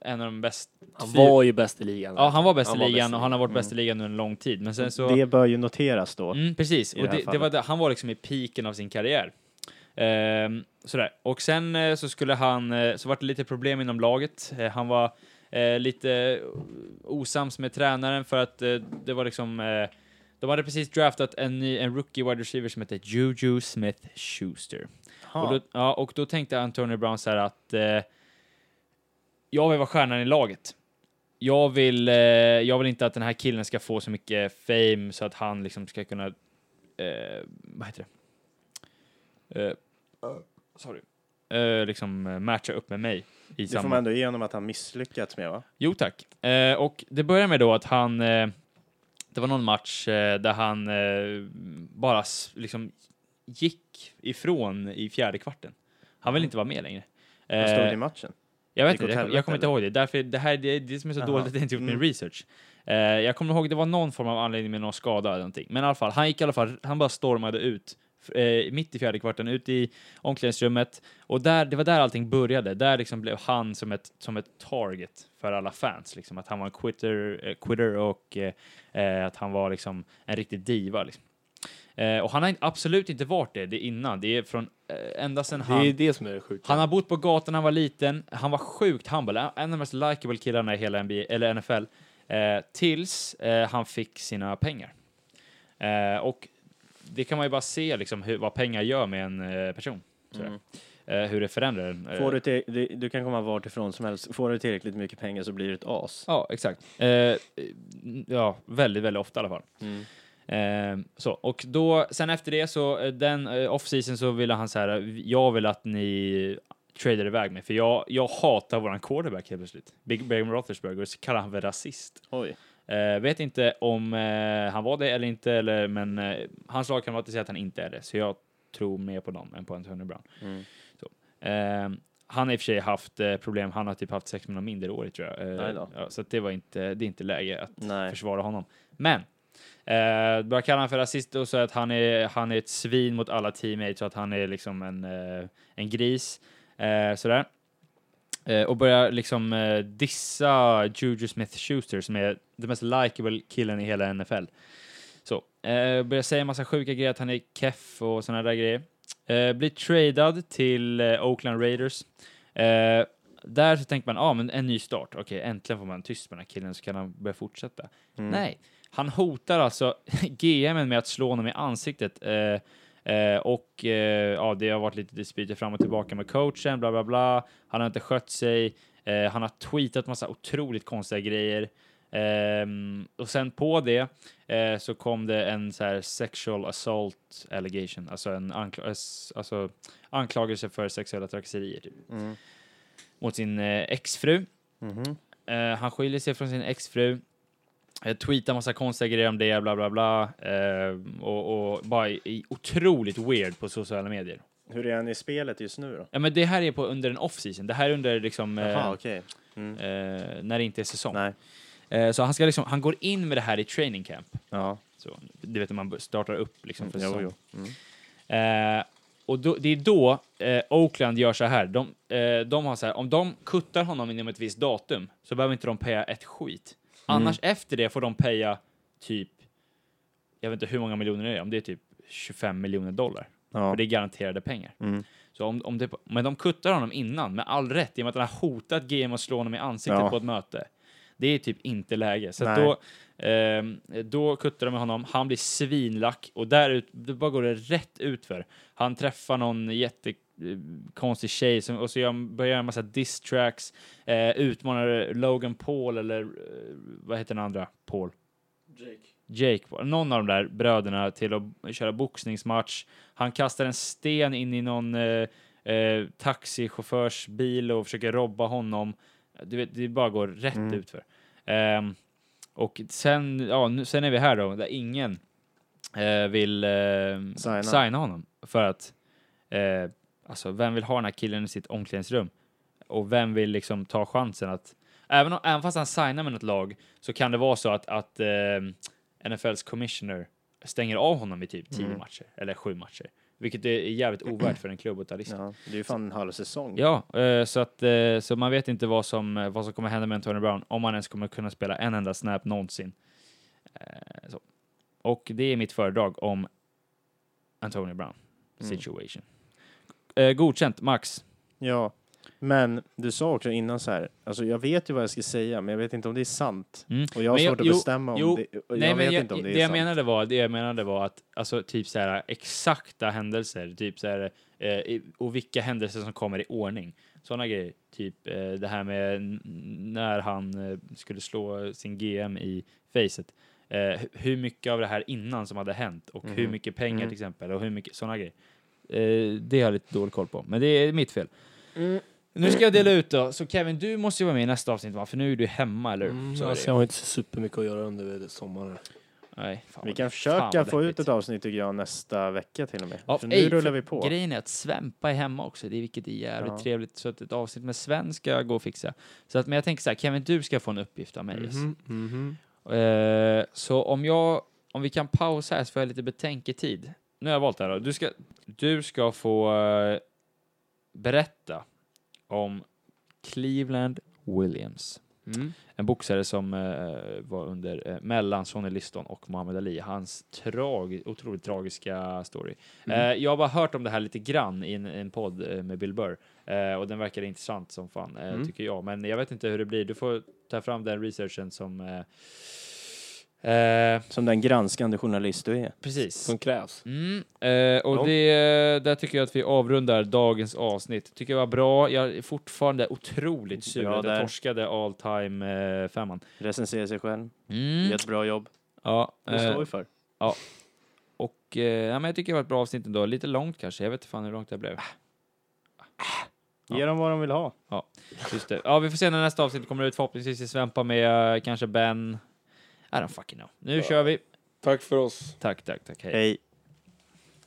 Speaker 1: en av de bästa
Speaker 2: Han
Speaker 1: Fyra-
Speaker 2: var ju bäst i ligan.
Speaker 1: Ja, han var bäst
Speaker 2: Han
Speaker 1: i
Speaker 2: var bäst
Speaker 1: ligan
Speaker 2: i
Speaker 1: och han har varit
Speaker 3: ligan. Mm.
Speaker 1: bäst i ligan under en lång tid. Men sen så...
Speaker 3: Det bör ju noteras då.
Speaker 1: Mm, precis.
Speaker 3: i
Speaker 1: Och
Speaker 3: det här
Speaker 1: det, det var det, han var liksom i piken av sin karriär. Ehm, sådär. Och sen eh, så skulle han... eh, Så vart det lite problem inom laget. Eh, han var eh, lite osams med tränaren för att eh, det var liksom... Eh, de hade precis draftat en, ny, en rookie wide receiver som hette Juju Smith-Schuster. Och då, ja, och då tänkte Antonio Brown så här att eh, jag vill vara stjärnan i laget. Jag vill, eh, jag vill inte att den här killen ska få så mycket fame så att han liksom ska kunna, eh, vad heter det? Eh, sorry. Eh, liksom eh, matcha upp med mig i
Speaker 3: det får
Speaker 1: samma
Speaker 3: man ändå igenom att han misslyckats med va?
Speaker 1: Jo tack. Eh, och det börjar med då att han, eh, det var någon match eh, där han eh, bara s- liksom gick ifrån i fjärde kvarten. Han vill inte vara med längre.
Speaker 3: Mm. Han stod i
Speaker 1: Eh,
Speaker 3: matchen.
Speaker 1: jag
Speaker 3: gick
Speaker 1: vet
Speaker 3: åt
Speaker 1: inte, jag,
Speaker 3: helvete,
Speaker 1: jag kommer inte
Speaker 3: eller?
Speaker 1: ihåg det. Därför, det här det, är det som är så
Speaker 3: Jaha.
Speaker 1: dåligt att jag inte gjort min
Speaker 3: Mm.
Speaker 1: research. Eh, jag kommer ihåg, det var någon form av anledning med någon skada eller någonting. Men i alla fall, han gick i alla fall, han bara stormade ut. f- Eh, mitt i fjärde kvarten, ut i omklädningsrummet. Och där, det var där allting började. Där liksom blev han som ett, som ett target för alla fans. Liksom. Att han var en quitter, eh, quitter och eh, eh, att han var liksom en riktig diva. Liksom. Eh, och han har absolut inte varit det, det innan. Det är från, eh, ända sedan han...
Speaker 2: Det är det som är det sjuka.
Speaker 1: Han har bott på gatan när han var liten. Han var sjukt humble. En av de mest likable killarna i hela NBA, eller NFL. Eh, tills eh, han fick sina pengar. Eh, och det kan man ju bara se liksom hur, vad pengar gör med en eh, person. sådär.
Speaker 3: Mm.
Speaker 1: Eh, hur det förändrar en. eh,
Speaker 3: Får du, till, du, du kan komma vart ifrån som helst. Får du tillräckligt mycket pengar så blir du ett as.
Speaker 1: Ja, exakt. Eh, ja, väldigt, väldigt ofta i alla fall. Eh, så, och då, sen efter det så, eh, den eh, off-season så ville han så här, jag vill att ni tradar iväg mig, för jag, jag hatar våran quarterback helt plötsligt. Big Ben Roethlisberger, så kallar han för rasist.
Speaker 3: Oj.
Speaker 1: Eh, vet inte om eh, han var det eller inte, eller, men eh, hans lagkamrater säger att han inte är det, så jag tror mer på dem än på Antonio Brown.
Speaker 3: Mm.
Speaker 1: Eh, han har i och för sig haft eh, problem, han har typ haft sex månader mindre i år tror jag. Eh,
Speaker 3: Aj då.
Speaker 1: ja, så att det var inte, det är inte läge att
Speaker 3: Nej.
Speaker 1: försvara honom. Men eh, börjar kalla honom för rasist och säga att han är, han är ett svin mot alla teammates och att han är liksom en, eh, en gris. Eh, sådär. Eh, och börjar liksom eh, dissa Juju Smith-Schuster som är den mest likable killen i hela NFL. Så, eh, börjar säga en massa sjuka grejer, att han är keff och sådana där grejer. Eh, blir tradad till eh, Oakland Raiders. Eh, där så tänker man, ja ah, men en ny start, okej äntligen får man tyst med den här killen så kan han börja fortsätta. Nej, han hotar alltså GMen med att slå honom i ansiktet. Eh, Eh, och eh, ja, det har varit lite dispyter fram och tillbaka med coachen, bla bla bla. Han har inte skött sig. Eh, han har tweetat massa otroligt konstiga grejer. Ehm, och sen på det eh, så kom det en så här sexual assault allegation, alltså en ankl eh, s- alltså anklagelse för sexuella trakasserier typ.
Speaker 3: Mm.
Speaker 1: mot sin eh, exfru. Eh, han skiljer sig från sin exfru. Eh, tweetar massa konstiga grejer om det, bla bla bla. Eh, och, och bara i, i otroligt weird på sociala medier.
Speaker 3: Hur är han i spelet just nu då?
Speaker 1: Ja, men det här är på under en off-season. Det här är under liksom... eh,
Speaker 3: Jaha, okej. Mm.
Speaker 1: eh, när det inte är säsong.
Speaker 3: Nej.
Speaker 1: Eh, så han ska liksom, han går in med det här i training camp.
Speaker 3: Ja.
Speaker 1: Så, du vet när man startar upp liksom för
Speaker 3: Jo,
Speaker 1: säsong.
Speaker 3: jo. Mm.
Speaker 1: Eh, och då, det är då eh, Oakland gör så här. De, eh, de har så här, om de kuttar honom inom ett visst datum så behöver inte de paya ett skit. Annars efter det får de paya typ, jag vet inte hur många miljoner det är, om det är typ 25 miljoner dollar.
Speaker 3: Ja.
Speaker 1: För det är garanterade pengar.
Speaker 3: Mm.
Speaker 1: Så om, om det, men de kuttar honom innan, med all rätt, i och med att han har hotat GM och slå honom i ansiktet
Speaker 3: Ja.
Speaker 1: på ett möte. Det är typ inte läge. Så att
Speaker 3: Nej.
Speaker 1: då, ehm, då kuttar de med honom, han blir svinlack och där ut, det bara går det rätt ut för. Han träffar någon jättekonstig tjej som, och så gör, börjar göra en massa diss tracks, eh, utmanar Logan Paul eller eh, vad heter den andra? Paul? Jake, var- någon av de där bröderna till att köra boxningsmatch. Han kastar en sten in i någon eh, eh, taxichaufförs bil och försöker robba honom. Du vet, det bara går rätt
Speaker 3: Mm.
Speaker 1: utför. Ehm, och sen, ja, nu, sen är vi här då, där ingen eh, vill eh,
Speaker 3: Signa.
Speaker 1: signa honom. För att, eh, alltså vem vill ha den här killen i sitt omklädningsrum? Och vem vill liksom ta chansen att, även, om, även fast han signar med något lag, så kan det vara så att, att ehm, NFLs commissioner stänger av honom i typ tio
Speaker 3: Mm.
Speaker 1: matcher eller sju matcher, vilket är jävligt ovärt för en klubb att ta risken.
Speaker 3: ja. Det är ju fan en halv säsong.
Speaker 1: Ja, eh, så att eh, så man vet inte vad som eh, vad som kommer hända med Antonio Brown om han ens kommer kunna spela en enda snap någonsin. Eh, Så. Och det är mitt föredrag om Antonio Brown
Speaker 3: Mm.
Speaker 1: situation. Eh, Godkänt, max.
Speaker 3: Ja, men du sa också innan så här, alltså jag vet ju vad jag ska säga, men jag vet inte om det är sant.
Speaker 1: Mm.
Speaker 3: Och jag har
Speaker 1: Men
Speaker 3: svårt att
Speaker 1: jo,
Speaker 3: bestämma om
Speaker 1: jo,
Speaker 3: det. Och
Speaker 1: Nej,
Speaker 3: jag
Speaker 1: men
Speaker 3: vet
Speaker 1: jag,
Speaker 3: inte om det,
Speaker 1: det,
Speaker 3: är
Speaker 1: jag
Speaker 3: sant.
Speaker 1: menade var, det jag menade var att alltså, typ så här, exakta händelser typ så här, eh, i- och vilka händelser som kommer i ordning. Sådana grejer. Typ eh, det här med n- när han eh, skulle slå sin GM i facet. Eh, hu- hur mycket av det här innan som hade hänt och hur
Speaker 3: Mhm.
Speaker 1: mycket pengar
Speaker 3: Mm.
Speaker 1: till exempel och hur mycket sådana grejer. Eh, det har jag lite dålig koll på, men det är mitt fel. Nu ska jag dela ut då, så Kevin du måste ju vara med i nästa avsnitt va? För nu är du hemma eller hur?
Speaker 3: Mm,
Speaker 1: Så är det
Speaker 2: alltså, jag
Speaker 1: ju.
Speaker 2: har inte så supermycket att göra under sommaren.
Speaker 1: Nej, fan,
Speaker 3: Vi
Speaker 1: vad-
Speaker 3: kan
Speaker 1: fan vad
Speaker 3: försöka få ut
Speaker 1: deppigt.
Speaker 3: ett avsnitt tycker jag nästa vecka till och med.
Speaker 1: Ja,
Speaker 3: för nu
Speaker 1: ej,
Speaker 3: rullar
Speaker 1: för
Speaker 3: vi på.
Speaker 1: Grejen är att Svempa är hemma också, det är, vilket är jävligt
Speaker 3: Ja.
Speaker 1: trevligt. Så att ett avsnitt med Sven ska jag gå och fixa. Så att, men jag tänker så här, Kevin, du ska få en uppgift av mig.
Speaker 2: Mhm,
Speaker 1: mm-hmm.
Speaker 2: mhm.
Speaker 1: Eh, så om jag, om vi kan pausa här så får jag lite betänketid. Nu har jag valt det här då. Du ska, du ska få eh, berätta om Cleveland Williams.
Speaker 2: Mm.
Speaker 1: En boxare som eh, var under eh, mellan Sonny Liston och Muhammad Ali. Hans trag, otroligt tragiska story.
Speaker 2: Mm.
Speaker 1: Eh, jag har bara hört om det här lite grann i en, en podd eh, med Bill Burr eh, och den verkar intressant som fan eh,
Speaker 2: Mm.
Speaker 1: tycker jag. Men jag vet inte hur det blir. Du får ta fram den researchen som eh, Eh,
Speaker 3: Som den granskande journalist du är.
Speaker 1: precis.
Speaker 2: som krävs.
Speaker 1: Mm. Eh, och
Speaker 2: Ja.
Speaker 1: det, där tycker jag att vi avrundar dagens avsnitt. Tycker jag var bra. Jag är fortfarande otroligt sur
Speaker 3: Bra
Speaker 1: att jag
Speaker 3: där.
Speaker 1: torskade all time eh, femman.
Speaker 3: Recenserar sig själv.
Speaker 1: Mm.
Speaker 3: Gör ett bra jobb.
Speaker 1: Ja,
Speaker 3: Det
Speaker 1: eh,
Speaker 3: står vi för.
Speaker 1: och eh, ja, men jag tycker det var ett bra avsnitt ändå. Lite långt kanske. Jag vet inte fan hur långt det blev.
Speaker 3: Ge dem vad de vill ha.
Speaker 1: Just det. Ja, vi får se när nästa avsnitt kommer ut. Förhoppningsvis är Svempa med, eh, kanske Ben. I don't fucking know. Nu kör vi.
Speaker 2: Tack för oss.
Speaker 1: Tack, tack, tack. Hej.
Speaker 3: Hej.